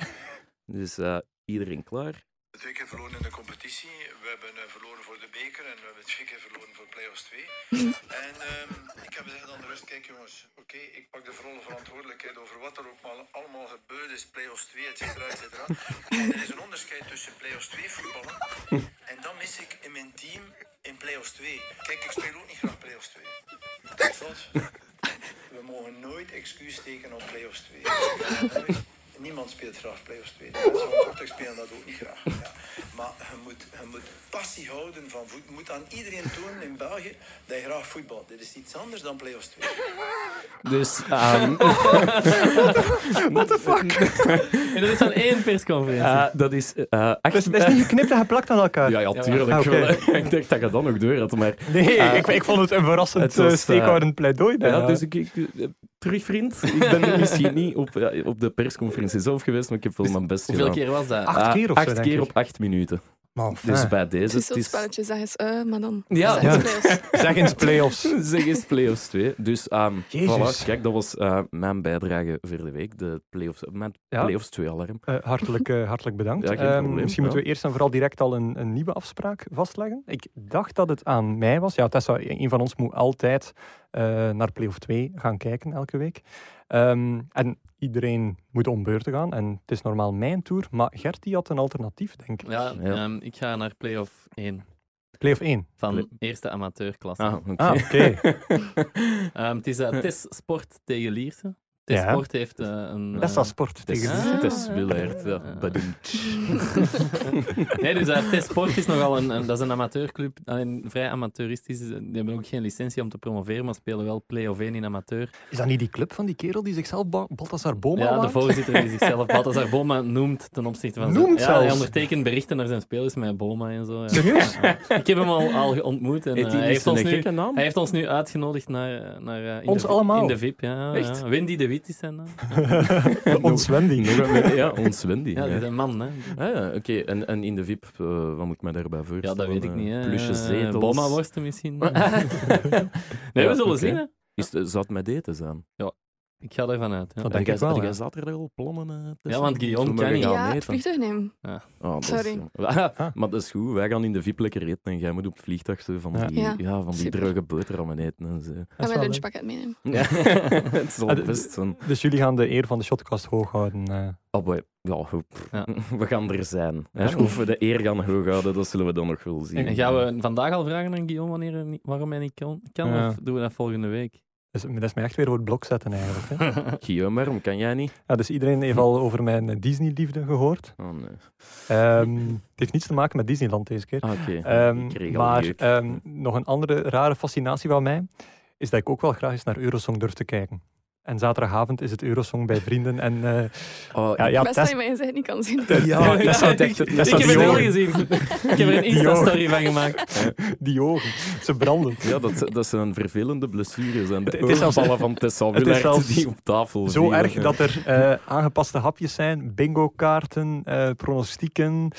Dus eh, iedereen klaar.
Twee keer verloren in de competitie. We hebben eh, verloren voor de beker en we hebben twee keer verloren voor playoffs 2. en ehm, ik heb gezegd aan de rust, kijk jongens, oké, ik pak de volle verantwoordelijkheid over wat er ook maar allemaal gebeurd is. Playoffs 2, et cetera, et cetera. En er is een onderscheid tussen playoffs 2 voetballen en dat mis ik in mijn team in playoffs 2. Kijk, ik speel ook niet graag playoffs 2. Tot slot, we mogen nooit excuus steken op playoffs 2. Nooit. Niemand speelt graag playoffs 2. De mensen van Kortrijk spelen dat ook niet graag. Ja. Maar je moet, je moet passie houden van voetbal. Je moet aan iedereen tonen in België dat je graag voetbalt. Dit is iets anders dan playoffs 2.
(laughs)
Dus, ehm,
(laughs) En dat is dan één persconferentie.
eh, dat is eh, acht...
dat, is, dat is niet geknipt en geplakt aan elkaar.
(laughs) ja, ja, tuurlijk.
Ah, oké.
wel. (laughs) ik dacht dat je dat nog door had, maar...
Nee,
Eh,
ik, ik vond het een verrassend
het was,
eh, steekhoudend pleidooi.
Ja,
bijna.
dus ik, ik, eh, terug, vriend. Ik ben misschien niet op, ja, op de persconferentie zelf geweest, maar ik heb wel mijn best
Hoeveel
gedaan.
keer was dat?
Acht
Eh,
keer of zo,
Acht
denk
keer
ik.
op acht minuten.
Maar enfin,
Dus bij deze...
Het is
het
zo'n
is-
spelletje, zeg eens, eh, maar dan.
Ja.
zeg eens
Ja. zeg eens
playoffs.
playoffs.
(laughs) Zeg eens playoffs 2. Dus ehm
Jezus.
voilà, kijk, dat was eh, mijn bijdrage voor de week. De playoffs, mijn
Ja.
playoffs 2 alarm.
Eh, hartelijk, eh, hartelijk bedankt.
Ja, geen
Ehm,
probleem,
misschien
ja.
moeten we eerst en vooral direct al een, een nieuwe afspraak vastleggen. Ik dacht dat het aan mij was. Ja, Tessa, e- een van ons moet altijd eh, naar Playoff 2 gaan kijken elke week. Ehm, en iedereen moet om beurten gaan. En het is normaal mijn tour, maar Gert die had een alternatief, denk ik.
Ja,
Ja.
ehm, ik ga naar play-off 1
Playoff 1.
van
Play-
eerste amateurklasse.
Ah, oké.
Ah, oké.
(laughs)
Ehm, het is
(laughs)
eh, Tess Sport tegen Lierse. Tess
Ja.
Sport heeft eh, een...
Dat is
eh,
dat sport
Het is-
tegen
Ah.
het is Willaert, ja.
Ah.
Badum.
Nee, dus eh, Tess
(laughs)
Sport is nogal een, een- dat is een amateurclub, alleen vrij amateuristisch. Die hebben ook geen licentie om te promoveren, maar spelen wel play-off 1 in amateur.
Is dat niet die club van die kerel die zichzelf Ba- Balthazar Boma
ja, de
waant?
voorzitter die zichzelf Balthazar Boma noemt ten opzichte van zijn...
Noemt
ja, hij
zelfs?
ondertekent berichten naar zijn spelers met Boma en zo. ja.
Serieus?
(laughs) Ik heb hem al, al ontmoet en eh,
Heeft
hij,
hij niet
heeft ons
een
nu,
gekke naam?
hij heeft ons nu uitgenodigd naar... eh, naar eh, in
Ons
de, vi-
allemaal?
In de VIP, ja.
Echt?
ja. Wendy de Wit is zijn naam.
(laughs) De ontzwending. (laughs)
Ja, ons Wendy.
Ja,
Ja,
dat is een man, hè.
Ah, ja, oké. En, en in de VIP, eh, wat moet ik me daarbij
Ja,
voorstellen?
dat weet ik niet. Hè.
Eh, Plusje
Eh,
zetels.
Boma-worsten misschien. nee,
Ja,
we zullen
oké.
zien. Hè.
Is, het- zou het met eten zijn?
Ik ga daarvan uit. Oh, Ja.
Dat denk
Jij-
ik wel,
had
hè.
jij zaterdag al plannen? eh, Tessa?
Ja, want Guillaume
Zo
kan
mogen
niet.
gaan
Ja, het
eten.
vliegtuig nemen.
Ah, dat is-
Sorry.
Ah, (laughs) maar dat is goed, wij gaan in de VIP lekker eten en jij moet op het vliegtuig zo van
Ja.
die,
Ja,
ja. van die
super.
droge boterhammen eten en
(laughs)
zo.
En
is
mijn
wel, hè.
lunchpakket meenemen.
Ja. (laughs) het zal
Ah, de-
best zijn.
Dus jullie gaan de eer van de shotcast hoog houden. eh.
Oh, boy. Ja, goed.
Ja.
(laughs) we gaan er zijn. hè.
Ja.
Of we de eer gaan hoog houden, dat zullen we dan nog wel zien.
En gaan we vandaag al vragen aan Guillaume wanneer hij niet- waarom hij niet kan? kan
Ja.
Of doen we dat volgende week?
Dus, dat is mij echt weer voor het blok zetten eigenlijk. Hè.
(laughs)
Hm.
Guillaume, waarom kan jij niet?
Ja, dus iedereen heeft al over mijn eh, Disney-liefde gehoord.
Oh, nee.
Ehm, het heeft niets te maken met Disneyland deze keer.
Ah, Oké,
Ehm,
ik kreeg al
maar
jeuk.
ehm, nog een andere rare fascinatie van mij is dat ik ook wel graag eens naar Eurosong durf te kijken. En zaterdagavond is het Eurosong bij vrienden. En eh,
Oh,
ja, ja,
Best dat
Tess,
je mijn gezicht niet kan zien.
(laughs) Ja, dat zou het echt-
ik,
dat zou
ik heb het
die
wel
ogen.
gezien. Ik heb er een
Die ogen.
Insta-story van gemaakt.
die ogen, ze branden.
(laughs) Ja, dat, dat zijn vervelende blessures en de
het is zelfs-
oorballen van Tessa
is
Willaert
zelfs
die op tafel
Zo
vielen.
erg dat er eh, aangepaste hapjes zijn, bingo-kaarten, eh, pronostieken,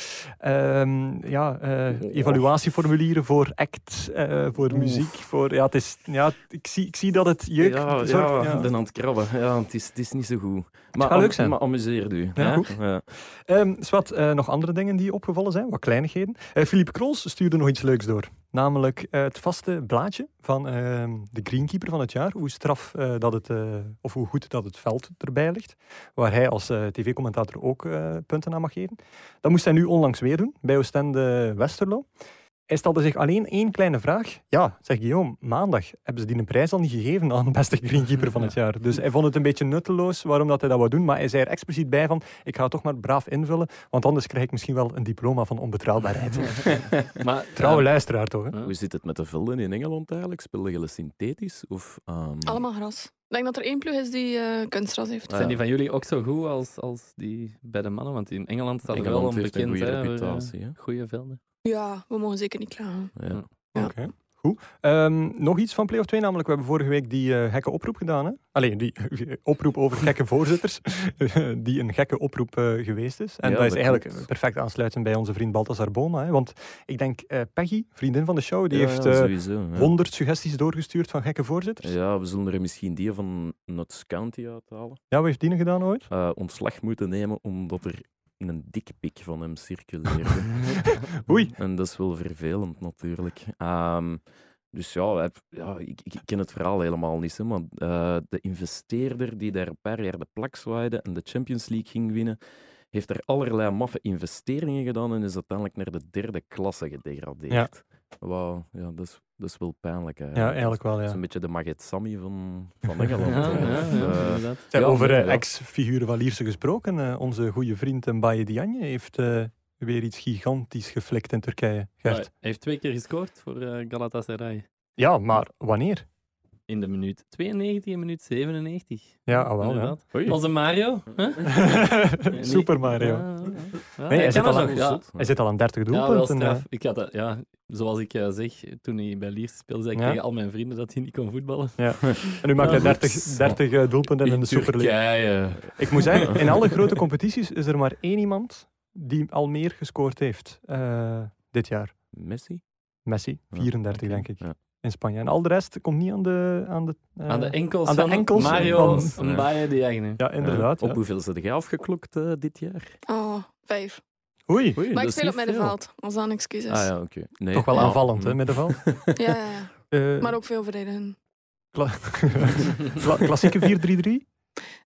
ehm, ja, eh,
Oh.
evaluatieformulieren voor act, eh, voor muziek. Voor, ja, het is, ja, ik, zie, ik zie dat het jeuk
ja, ja,
zorgt, ja.
ben aan het krabben. Ja, het, is, het is niet zo goed. Maar,
gaat leuk
am-
zijn.
maar amuseer u.
Ja,
hè?
goed.
Ja.
Ehm, Swat, eh, nog andere dingen die opgevallen zijn, wat kleinigheden. Eh Philippe Krols stuurde nog iets leuks door. Namelijk eh, het vaste blaadje van ehm, de greenkeeper van het jaar. Hoe straf eh, dat het, eh, of hoe goed dat het veld erbij ligt. Waar hij als eh, tv-commentator ook eh, punten aan mag geven. Dat moest hij nu onlangs weer doen, bij Oostende Westerlo. Hij stelde zich alleen één kleine vraag. Ja, zegt Guillaume, maandag hebben ze die een prijs al niet gegeven aan beste greenkeeper van het jaar. Dus hij vond het een beetje nutteloos waarom dat hij dat wou doen. Maar hij zei er expliciet bij van, ik ga het toch maar braaf invullen, want anders krijg ik misschien wel een diploma van onbetrouwbaarheid.
Maar, eh,
Trouwe luisteraar toch, hè?
Hoe zit het met de velden in Engeland eigenlijk? Spelen jullie synthetisch? Of, ehm,
Allemaal gras. Ik denk dat er één ploeg is die eh, kunstgras heeft.
Ah,
zijn die van jullie ook zo goed als, als die bij de mannen? Want in Engeland staat er wel
Engeland
onbekend.
heeft een goede
hè, voor, eh,
reputatie. hè?
Goede velden.
Ja, we mogen zeker niet klagen.
Ja.
Ja.
Oké, goed. Ehm, nog iets van Play of 2, namelijk we hebben vorige week die eh, gekke oproep gedaan. Hè? Allee, die (laughs) oproep over gekke voorzitters, (laughs) die een gekke oproep eh, geweest is. En
Ja,
dat is
dat
eigenlijk
klopt.
perfect aansluitend bij onze vriend Balthazar Boma. Hè? Want ik denk, eh, Peggy, vriendin van de show, die
Ja,
heeft
ja,
eh,
sowieso, ja.
100 suggesties doorgestuurd van gekke voorzitters. Ja,
Ja, we zullen er misschien die van Notts County uithalen.
wat heeft Dine gedaan ooit?
Eh, ontslag moeten nemen omdat er een dikpik van hem circuleerde.
(laughs) Oei.
En dat is wel vervelend natuurlijk. Ehm, dus ja, hij- ja ik, ik ik ken het verhaal helemaal niet. Hè, maar eh, de investeerder die daar een paar jaar de plak zwaaide en de Champions League ging winnen, heeft er allerlei maffe investeringen gedaan en is uiteindelijk naar de derde klasse gedegradeerd. Wauw, ja, dat, is, dat is wel pijnlijk eigenlijk.
Ja, eigenlijk wel,
Dat is
ja.
een beetje de Maget Sammy van, van Engeland.
Ja,
hè.
ja, ja,
Eh,
inderdaad.
Zeg,
Ja,
over eh,
ja.
ex-figuren van Lierse gesproken, eh, onze goede vriend Mbaye Diagne heeft eh, weer iets gigantisch geflikt in Turkije,
Maar
Gert.
Hij heeft twee keer gescoord voor eh, Galatasaray.
Ja, maar wanneer?
In de minuut 92 en minuut 97.
Ja, ah, wel, ja.
Inderdaad. (laughs)
Oei.
Onze Mario. Huh?
(laughs)
Nee,
Super Mario.
ja, ja, ja.
hij
Ja,
zit
kan
al
dat
aan-
nog, ja.
Hij zit al aan 30
Ja, wel
doelpunten.
straf. Ik had dat, ja, zoals ik eh, zeg, toen hij bij Liers speelde, zei ik
Ja.
tegen al mijn vrienden dat hij niet kon voetballen.
eh. En nu maakt hij
Ja,
30,
goed.
30 eh, doelpunten in,
In
de Super League.
Turkije. (laughs)
Ik moet zeggen, in alle grote competities is er maar één iemand die al meer gescoord heeft eh, dit jaar.
Messi?
Messi,
Ja,
34
oké.
denk ik,
Ja.
in Spanje. En al de rest komt niet aan de... Aan de, eh,
Aan de enkels
aan de
van
enkels
Mario
van-
Mbaye Diagne.
Ja, inderdaad.
Eh,
ja.
Op hoeveel zijn jij afgeklokt eh, dit jaar?
Oh, vijf.
Oei,
Oei,
Maar
dat
ik
is
speel
niet
op dus- middenveld, als dat een excuus
veel.
is.
Ah ja, oké. Nee,
toch wel
ja.
aanvallend, hè,
(laughs) Mm.
middenveld.
(laughs)
ja, ja, ja.
(laughs)
Eh,
Maar ook veel verdedigen.
kla- (laughs) Kla- klassieke 4-3-3?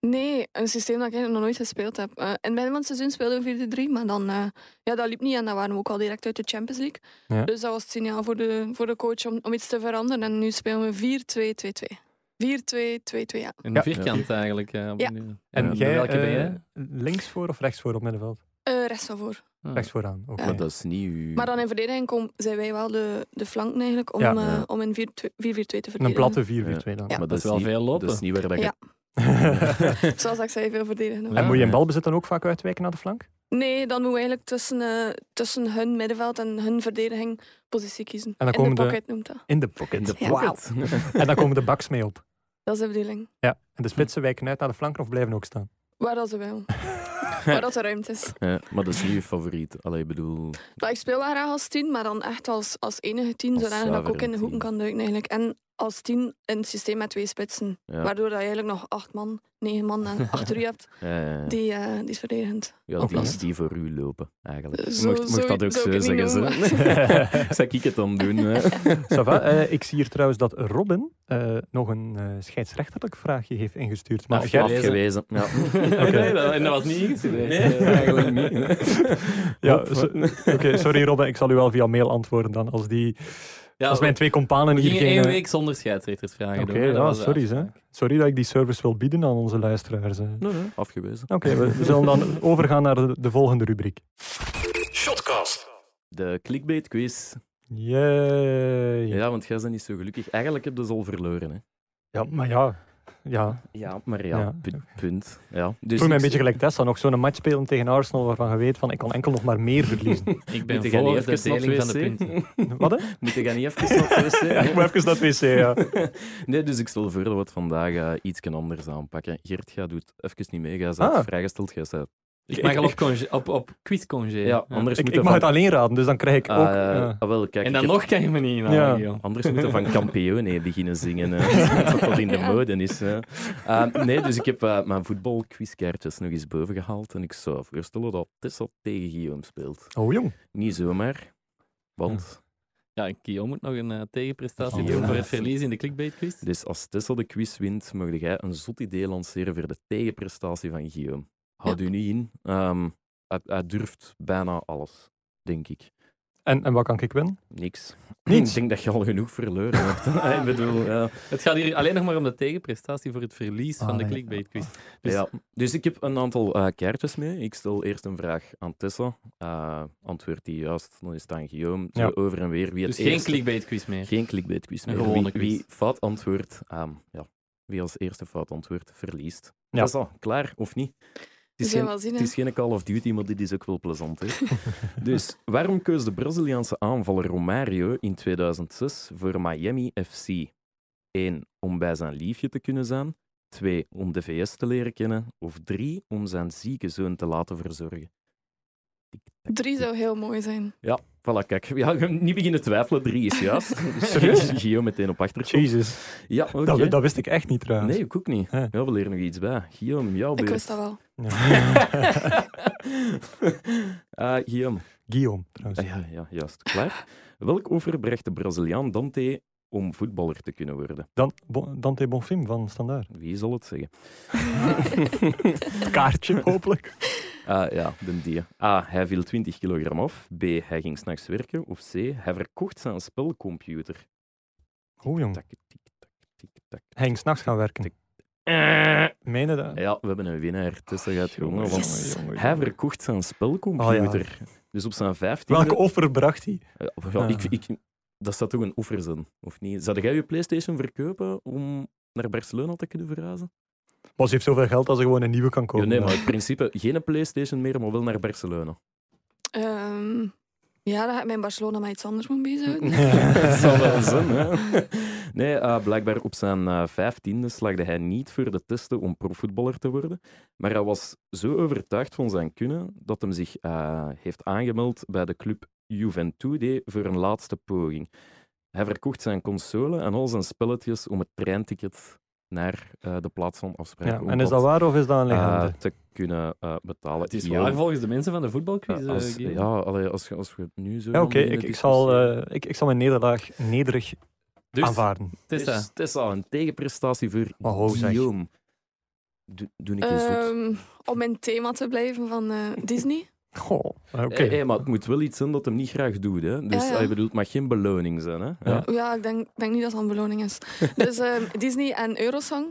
Nee, een systeem dat ik eigenlijk nog nooit gespeeld heb. Eh, in het begin van het seizoen speelden we 4-3, maar dan, eh, ja, dat liep niet en dan waren we ook al direct uit de Champions League.
Ja.
Dus dat was het signaal voor de, voor de coach om, om iets te veranderen. En nu spelen we 4-2-2-2. 4-2-2-2, ja.
Een
Ja.
vierkant eigenlijk. eh, op
Ja.
die-
En
Eh,
jij,
welke ben
eh,
jij?
links voor of rechts voor op middenveld?
Eh rest van voor.
Ah.
Rechts vooraan, oké.
Maar dat is niet uw...
Maar dan in verdediging kom, zijn wij wel de, de flanken eigenlijk om,
Ja.
eh,
Ja.
om in 4-2 4-4-2 te verdedigen.
Een platte 4-4-2 dan.
Maar
dat is wel
niet-
veel lopen.
Dat is niet waar dat
(laughs)
je...
Ja. Zoals ik zei, veel verdedigen.
Ja.
En moet je in balbezit dan ook vaak uitwijken naar de flank?
Nee, dan moeten we eigenlijk tussen, eh, tussen hun middenveld en hun verdediging positie kiezen.
dan
in
komen
de
de-
pocket noemt dat.
In de pocket.
In de
Ja.
pocket.
En dan komen de baks mee op.
Dat is de bedoeling.
Ja. En de spitsen wijken uit naar de flanken of blijven ook staan?
Waar dat ze wel. Waar dat er ruimte is.
(laughs) Ja, maar dat is niet je favoriet. Allee, ik bedoel...
Maar ik speel wel graag als tien, maar dan echt als, als enige tien,
Als
zodat ik ook
zuivere
in de hoeken
tien.
kan duiken eigenlijk. En als tien in het systeem met twee spitsen.
Ja.
Waardoor dat je eigenlijk nog acht man, negen man en achter u hebt.
Ja, ja, ja.
Die, eh, die is verdedigend.
ja,
Ook
die,
last.
die voor u lopen, eigenlijk.
Zo-
mocht, mocht dat
zo-
ook zo,
zou ik het
zeggen.
niet
Ze. (laughs) Zou ik het dan doen? Hè?
(laughs) Ça va. Eh, ik zie hier trouwens dat Robin eh, nog een eh, scheidsrechterlijk vraagje heeft ingestuurd. Maar
Ah,
jij-
afgewezen.
Afgewezen. Ja. (laughs)
(laughs) Nee, dat, en dat was niet ingestudeerd. (laughs)
Nee, eigenlijk niet.
ja,
Hop.
so- (laughs)
eh.
Oké, sorry Robin, ik zal u wel via mail antwoorden dan. Als, die,
Ja,
als mijn twee companen
we
hier
gingen
geen...
één
eh,
week zonder scheidsrechtersvragen
Oké,
doen. hè, dat
ja,
was de
sorry, hè.
afspraak.
sorry dat ik die service wil bieden aan onze luisteraars. hè.
Nee, nee, afgewezen.
Oké, we we zullen
(laughs)
dan overgaan naar de, de volgende rubriek.
Shotcast.
De clickbait quiz.
Yay. Ja.
Ja, want jij bent niet zo gelukkig. Eigenlijk heb je ze al verloren. Hè.
maar ja. ja.
Ja, maar ja,
Ja.
pu- punt. Ja. Dus
Ik voel me
ik-
een beetje gelijk Tessa. Nog zo'n match spelen tegen Arsenal waarvan je weet van ik kan enkel nog maar meer
(laughs)
verliezen.
Ik ben
Moet jij
voor
niet
de
even naar
deling van de
het wc?
punten.
Wat? hè?
Moet jij niet even
(laughs)
naar het wc?
Ja, ik moet even naar het wc, ja.
(laughs) nee, dus ik stel voor dat we het vandaag eh, iets anders aanpakken. Geert, jij doet even niet mee. Jij bent
Ah.
vrijgesteld. Jij bent...
Ik mag al op, congé, op, op quizcongé.
Ja, anders
Ik,
moet
ik
je
mag het
van...
alleen raden, dus dan krijg ik ook...
Ah,
ja.
ah, wel, kijk,
En
ik
dan
heb-
nog kan je me niet in
Ja.
joh.
Anders moeten we
(laughs)
van Campione beginnen zingen. hè. Dat dat in de
Ja.
mode is. hè. Eh, nee, dus ik heb eh, mijn voetbalquizkaartjes nog eens boven gehaald. En ik zou voorstellen dat Tessa tegen Guillaume speelt.
Oh jong.
Niet zomaar, want
Ja, en Kio moet nog een eh, tegenprestatie
Guillaume.
doen voor het verlies in de clickbait quiz.
dus als Tessa de quiz wint, mag jij een zot idee lanceren voor de tegenprestatie van Guillaume. Houd u niet in. Ehm, hij, hij durft bijna alles, denk ik.
En, en wat kan ik winnen?
Niks.
Niets?
Ik denk dat je al genoeg verloren hebt. (laughs) ik bedoel, ja.
Het gaat hier alleen nog maar om de tegenprestatie voor het verlies
Ah,
van de
nee.
clickbait quiz. Dus-
Dus, ja. dus ik heb een aantal eh, kaartjes mee. Ik stel eerst een vraag aan Tessa. Eh antwoordt die juist, dan is het aan Guillaume. Zo
Ja.
over en weer. Wie het
Dus geen
eerste-
clickbait quiz meer.
Geen clickbait quiz
Een
meer.
gewone
wie,
quiz.
wie fout antwoordt, ehm, ja. wie als eerste fout antwoordt, verliest.
Ja.
Tessa, klaar of niet? Het
Dus
is,
je
geen,
wel zien,
het
hè.
is geen Call of Duty, maar dit is ook wel
(laughs)
plezant. Hè? dus waarom koos de Braziliaanse aanvaller Romario in 2006 voor Miami FC? 1. Om bij zijn liefje te kunnen zijn. 2. Om de VS te leren kennen. Of 3. Om zijn zieke zoon te laten verzorgen. Tik-tak.
Drie zou heel mooi zijn.
Voilà, kijk. Ja, niet beginnen twijfelen. 3
(laughs)
is juist. (laughs)
Serieus?
Gio meteen op achtergrond.
Jezus.
Ja, oké.
Dat, dat wist ik echt niet trouwens.
Nee, ik ook niet.
Ja.
Ja, we leren nog iets bij. Guillaume, jouw
Ik
beurt.
wist dat
(laughs)
wel.
Ja.
Eh, Guillaume.
Guillaume trouwens.
Ah, ja, ja, juist. Klaar. Welk offer bracht de Braziliaan Dante om voetballer te kunnen worden?
Dan, Bon- Dante Bonfim van Standaard.
Wie zal het zeggen? (laughs)
Kaartje, hopelijk.
Ah, ja, de die. A. Hij viel 20 kilogram af. B. Hij ging s'nachts werken. Of C. Hij verkocht zijn spelcomputer.
Oh jong.
Tak, tik, tak, tik, tak.
Hij ging s'nachts gaan werken. Meen je dat?
Ja, we hebben een winnaar. Tussen gaat
Jongen, jongen,
jongen. Want
Yes.
jongen,
hij
jongen.
verkocht zijn spelcomputer. Dus op zijn 15
Welke offer bracht hij?
Ja, ja,
Ah.
Eh, ik, ik, dat zou toch een offer zijn, of niet? Zou jij je PlayStation verkopen om naar Barcelona te kunnen verhuizen?
Maar ze heeft zoveel geld als ze gewoon een nieuwe kan
Ja,
kopen.
nee, maar in principe geen PlayStation meer, maar wel naar Barcelona.
Ehm, Ja, dan ga ik mijn Barcelona met iets anders moeten bezighouden.
(laughs) Dat zal wel
(laughs)
zijn, hè? Nee, eh, blijkbaar op zijn vijftiende slagde hij niet voor de testen om profvoetballer te worden. Maar hij was zo overtuigd van zijn kunnen dat hij zich eh, heeft aangemeld bij de club Juventude voor een laatste poging. Hij verkocht zijn console en al zijn spelletjes om het treinticket naar eh, de plaats van afspraak
Ja,
om
en is dat waar of is dat een
eh,
legende?
te kunnen eh, betalen.
Het is
Ja,
waar volgens de mensen van de voetbalquiz.
eh,
eh,
als,
Guillaume.
ja, allee, als, je- als we het nu zo...
ja,
van
oké,
die
ik, ik,
discussiëren-
zal, eh, ik, ik zal mijn nederlaag nederig
dus,
aanvaarden.
Tessa, (laughs)
Dus Tessa, een tegenprestatie voor
Oh, ho, zeg.
Guillaume. Doe, doe ik eens goed.
Ehm, om in het thema te blijven van eh, Disney.
Goh, oké.
Eh, eh, maar het moet wel iets zijn dat hem niet graag doet. Hè? Dus
Ah, Ja, ja.
hij bedoelt, het mag geen beloning zijn. Hè?
Ja.
Ja, ik denk, denk niet dat dat een
(laughs)
beloning is. Dus ehm, Disney en Eurosong.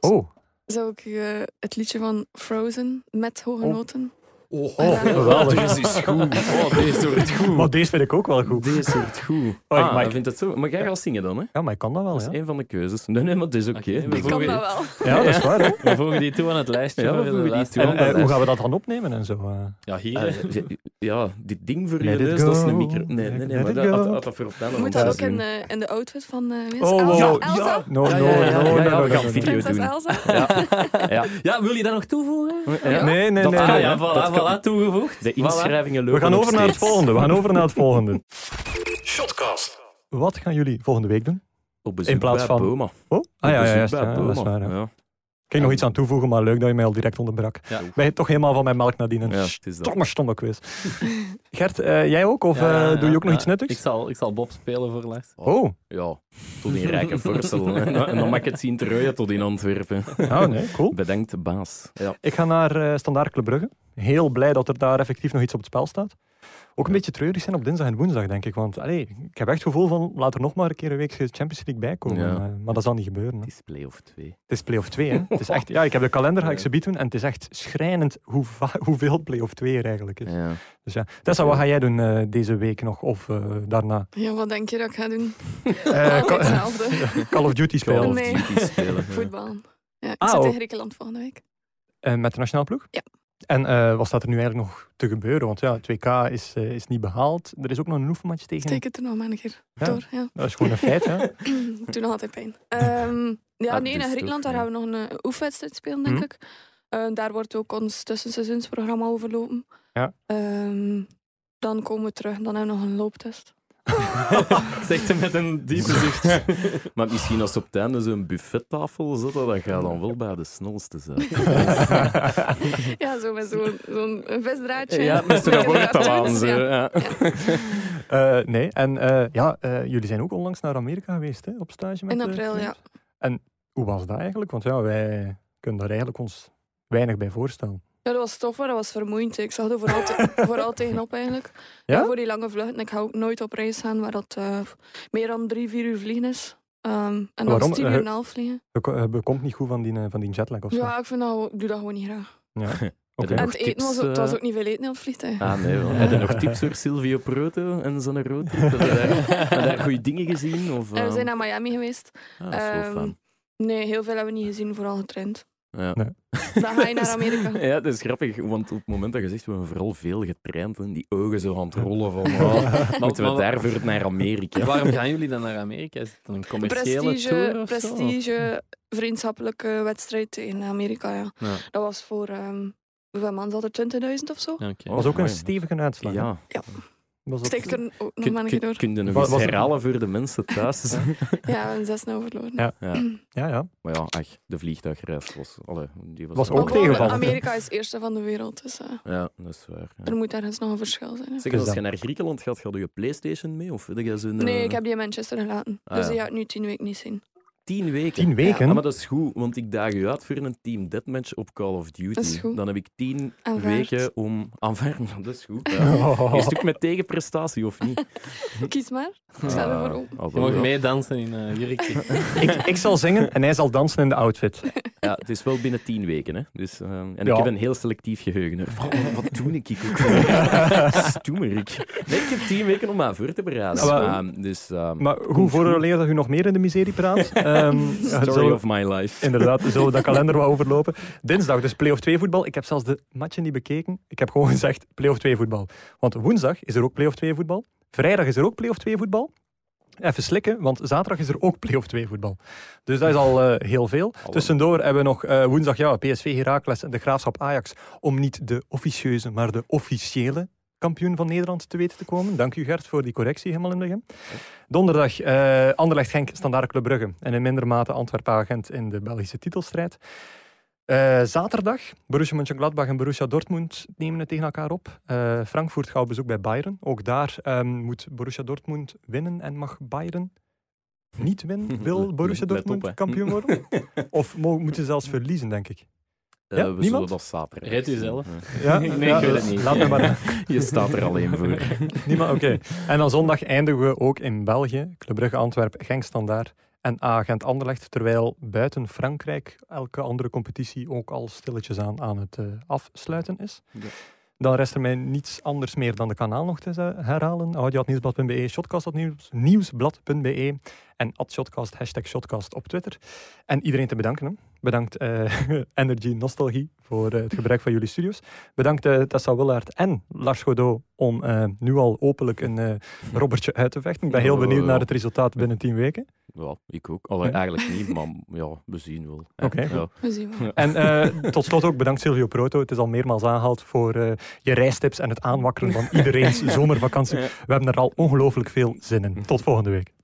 Oh,
Zou ik eh, het liedje van Frozen met hoge
Oh.
noten.
oh,
Ja.
geweldig.
eh, Deze is goed. Oh, deze wordt goed.
Maar deze vind ik ook wel goed.
Deze wordt goed.
(laughs) Oei,
Ah,
Mike.
hij vindt het zo. Maar jij gaat zingen dan, hè?
Ja, maar ik kan dat wel,
Dat is
ja.
één van de keuzes. Nee, nee, maar het is oké.
Oké,
Ik
we
Ik kan
Vroeger-
dat wel.
Ja, dat is waar,
(laughs)
hè.
we voegen die toe aan het lijstje.
Ja, we
voor de
voegen die
laatste-
toe aan
En
het
eh,
eh,
lijstje.
hoe gaan we dat dan opnemen en zo? eh?
Ja, hier.
Eh,
hè.
je- ja, dit ding voor
Let
je
it
neus, dat is een
go.
micro... Nee, nee, nee,
Let
maar
it
dat,
go.
dat, dat, dat vertellen
Moet dat ook in, eh, in de outfit van eh wie is
Oh,
Elsa?
wow,
Elsa?
No,
Ja,
no,
ja, ja,
no,
ja, ja,
no,
we
no,
gaan
no, no.
video
Prinses
doen.
Elsa? (laughs)
Ja.
Ja, wil je dat nog toevoegen?
Ja.
Nee, nee,
Dat
nee.
kan,
nee.
Ah ja,
dat
voilà,
kan.
voilà, toegevoegd.
De
Voilà.
inschrijvingen
We
lopen
gaan
nog
over naar het
steeds.
volgende. We gaan over naar het volgende.
Shotcast.
Wat gaan jullie volgende week doen?
Op bezoek
In plaats
bij
van-
Boma.
Oh, ah ja,
Op
ja,
bezoek
juist,
bij
ja, dat is
Boma.
waar. ja.
Ja.
Ik ging nog iets aan toevoegen, maar leuk dat je mij al direct onderbrak.
Ja.
Ik Ben je toch helemaal van mijn melk nadien een
Ja, het is dat.
stomme, stomme quiz. Gert, eh, jij ook? Of
Ja, ja,
eh,
ja,
doe je ook nog
ja.
iets nuttigs?
Ik zal, ik zal Bob spelen voor Lars.
Oh,
Ja, tot in
(laughs)
rijke voorstel. En dan mag ik het zien terug tot in Antwerpen.
ja, Oh, nee, cool.
Bedankt, de baas. Ja.
Ik ga naar eh, Standaard Club Brugge. Heel blij dat er daar effectief nog iets op het spel staat. Ook een beetje treurig zijn op dinsdag en woensdag, denk ik. Want allee, ik heb echt het gevoel van, laat er nog maar een keer een week Champions League bij komen.
Ja.
Eh, maar dat zal niet gebeuren. hè.
Het is play-off 2.
Het is play-off 2, hè. Het is echt, ja, ik heb de kalender, ga ik ze bieden. En het is echt schrijnend hoe va- (laughs) hoeveel play-off 2 er eigenlijk is.
Ja.
Dus ja. Tessa, wat ga jij doen eh, deze week nog of eh,
(laughs)
daarna?
Ja, wat denk je dat ik ga doen?
Eh,
Altijd
Ca-
hetzelfde.
(laughs) Call of Duty
Call
spelen.
of
Nee.
Duty spelen. ja.
Voetbal. Ja, ik
Ah,
zit in
oh.
Griekenland volgende week.
(laughs) Eh, met de nationale ploeg?
Ja.
En eh, wat staat er nu eigenlijk nog te gebeuren? Want ja, het WK is, eh, is niet behaald. Er is ook nog een oefenmatch tegen.
Steek het er nog maar een keer
Ja.
door. Ja.
Dat is gewoon een feit,
(laughs)
hè? (laughs)
Doe nog altijd pijn. Ehm, ja,
Ah,
nee,
dus
in
toch,
Griekenland daar
ja.
gaan we nog een eh, oefenwedstrijd spelen, denk
Mhm.
ik. Eh, daar wordt ook ons tussenseizoensprogramma overlopen.
Ja.
Ehm, dan komen we terug, dan hebben we nog een looptest.
Zegt ze met een diepe zucht.
Maar misschien als ze op het einde zo'n buffettafel zitten, dan ga je dan wel bij de snelste zijn.
Mhm.
(laughs) Ja, zo met zo'n zo'n visdraadje.
Ja, met zo'n
Met
wortel
cartoons,
aan.
(laughs)
Zo.
ja.
Ja.
Eh, nee, en eh, ja, eh, jullie zijn ook onlangs naar Amerika geweest, hè? Op stage met
In
eh,
april, ja.
Philips. Hoe was dat eigenlijk? Want ja, wij kunnen daar eigenlijk ons weinig bij voorstellen.
Ja, dat was tof, maar dat was vermoeiend. Ik zag er vooral,
(laughs)
te- vooral tegenop eigenlijk.
Ja?
voor die lange vluchten. Ik ga ook nooit op reis gaan waar dat eh, meer dan drie, vier uur vliegen is. Ehm, en dan
Waarom?
is tien
Eh,
uur en een half vliegen.
Je ko- je komt niet goed van die, eh, van die jetlag of zo.
Ja, ik vind dat, ik doe dat gewoon niet graag.
(laughs)
Ja.
Oké.
Oké.
En
nog
het eten was,
tips,
ook- het was
eh?
ook niet veel eten op het vliegtuig.
(laughs) Ah, nee. wel. Heb je nog tips voor Silvio Proto en zijn rood? (laughs) Heb je daar, heb je daar goede dingen gezien? Of,
Eh, we
ehm,
zijn naar Miami geweest.
ah, dat is wel
Ehm,
fijn.
Nee, heel veel hebben we niet gezien, vooral getraind.
Ja.
Dan ga je naar Amerika.
(laughs) Ja, dat is grappig, want op het moment dat je zegt, we hebben vooral veel getraind en die ogen zo aan het rollen van, (laughs) oh,
(laughs)
moeten we
maar-
daarvoor naar Amerika?
Waarom gaan jullie dan naar Amerika? Is het een commerciële tour
Prestige,
of zo?
prestige vriendschappelijke wedstrijd tegen Amerika, ja.
Ja.
Dat was voor, ehm hoeveel man zat er? 20.000 of zo?
Ja, oké.
Oh,
was ook een
mooi.
stevige uitslag. hè?
Ja.
Was dat-
Steek er ook nog maar
Kun,
een keer door.
kun, kun je nog
Wa-
eens
was het-
herhalen voor de mensen thuis?
Ja, we hebben 6 0 verloren.
Ja.
Ja.
Ja, ja.
Maar ja, ach, de vliegtuigreis was... Allee, die was,
Was
wel-
ook
Maar
tegenvallen.
Amerika is eerste van de wereld, dus eh,
Ja, dat is waar. ja.
er moet ergens nog een verschil zijn. hè.
Zeg,
Dus
als je
dan-
naar Griekenland gaat, ga je je Playstation mee? Of weet je zo'n...
Nee, ik
eh,
heb die in Manchester gelaten.
Ah,
dus
ja.
die ga ik nu tien weken niet
(laughs)
zien.
Tien weken.
Tien weken.
Ah, maar dat is goed, want ik daag u uit voor een team deathmatch op Call of Duty.
Dat is goed.
Dan heb ik tien
Aanvaard.
weken om... Aanvaarden, (laughs) dat is goed.
(laughs)
ja.
Oh.
Is het ook met tegenprestatie of
(laughs)
niet?
Kies maar. Ik sta
Ah,
ervoor open.
ah,
Je
wel,
mag
ja.
meedansen in eh jurkje.
ik, ik zal zingen en hij zal dansen in de (laughs) outfit.
Ja, het is wel binnen tien weken. Hè? Dus, ehm, en
Ja.
ik heb een heel selectief geheugen. Hè. Wat, wat doe ik ook? (laughs) Stoemer ik. Nee, ik heb tien weken om mij voor te beraden.
Ah, wel.
Ehm, dus, ehm,
Maar hoe
Komt
vooraleer dat u nog meer in de miserie praat, eh, Ehm,
Story
zullen-
of my life.
Inderdaad, zullen we dat kalender wat overlopen. Dinsdag dus play-off 2 voetbal. Ik heb zelfs de matchen niet bekeken. Ik heb gewoon gezegd play-off 2 voetbal. Want woensdag is er ook play-off 2 voetbal. Vrijdag is er ook play-off 2 voetbal. Even slikken, want zaterdag is er ook play-off 2 voetbal. Dus dat is al eh, heel veel. Tussendoor hebben we nog eh, woensdag ja, PSV Heracles en de Graafschap Ajax. Om niet de officieuze, maar de officiële kampioen van Nederland te weten te komen. Dank u Gert voor die correctie helemaal in het begin. Donderdag eh Anderlecht Genk, Standaard Club Brugge en in minder mate Antwerpen Agent in de Belgische titelstrijd. Eh, zaterdag, Borussia Mönchengladbach en Borussia Dortmund nemen het tegen elkaar op. Eh, Frankfurt gaat op bezoek bij Bayern. Ook daar ehm, moet Borussia Dortmund winnen en mag Bayern niet
(laughs)
winnen.
Let-
Wil
let-
Borussia
let op,
Dortmund
hè.
kampioen
(laughs)
worden? Of mo- moeten ze zelfs verliezen, denk ik.
Eh,
Ja,
we zullen
niemand?
dat zaterdag.
Red u
zien.
zelf.
Ja.
Ja?
Nee, ik
Ja,
weet
dus
het niet.
Laat mij maar
Je staat er alleen voor.
(laughs) Niemand, oké. En dan zondag eindigen we ook in België. Club Brugge, Antwerpen, Genk, Standaard en Agent Anderlecht. Terwijl buiten Frankrijk elke andere competitie ook al stilletjes aan aan het eh, afsluiten is.
Ja.
Dan rest er mij niets anders meer dan de kanaal nog te ze- herhalen. Audioatnieuwsblad.be, shotcast.nieuws- nieuwsblad.be en shotcast, hashtag shotcast op Twitter. En iedereen te bedanken. hè. Bedankt eh, (laughs) Energy Nostalgie voor eh, het gebruik van jullie studios. Bedankt eh, Tessa Willaert en Lars Godot om eh, nu al openlijk een eh robbertje uit te vechten. Ik ben heel
Ja, wel,
benieuwd naar
wel.
het resultaat binnen tien weken.
Ja, ik ook. Allee,
Ja.
eigenlijk niet, maar ja, we zien wel. hè.
Oké,
Ja.
We zien wel.
En eh, tot slot ook bedankt Silvio Proto. Het is al meermaals aangehaald voor eh, je
(laughs)
(laughs)
reistips en het aanwakkeren van iedereen's zomervakantie. We hebben er al ongelooflijk veel zin in. Tot volgende week.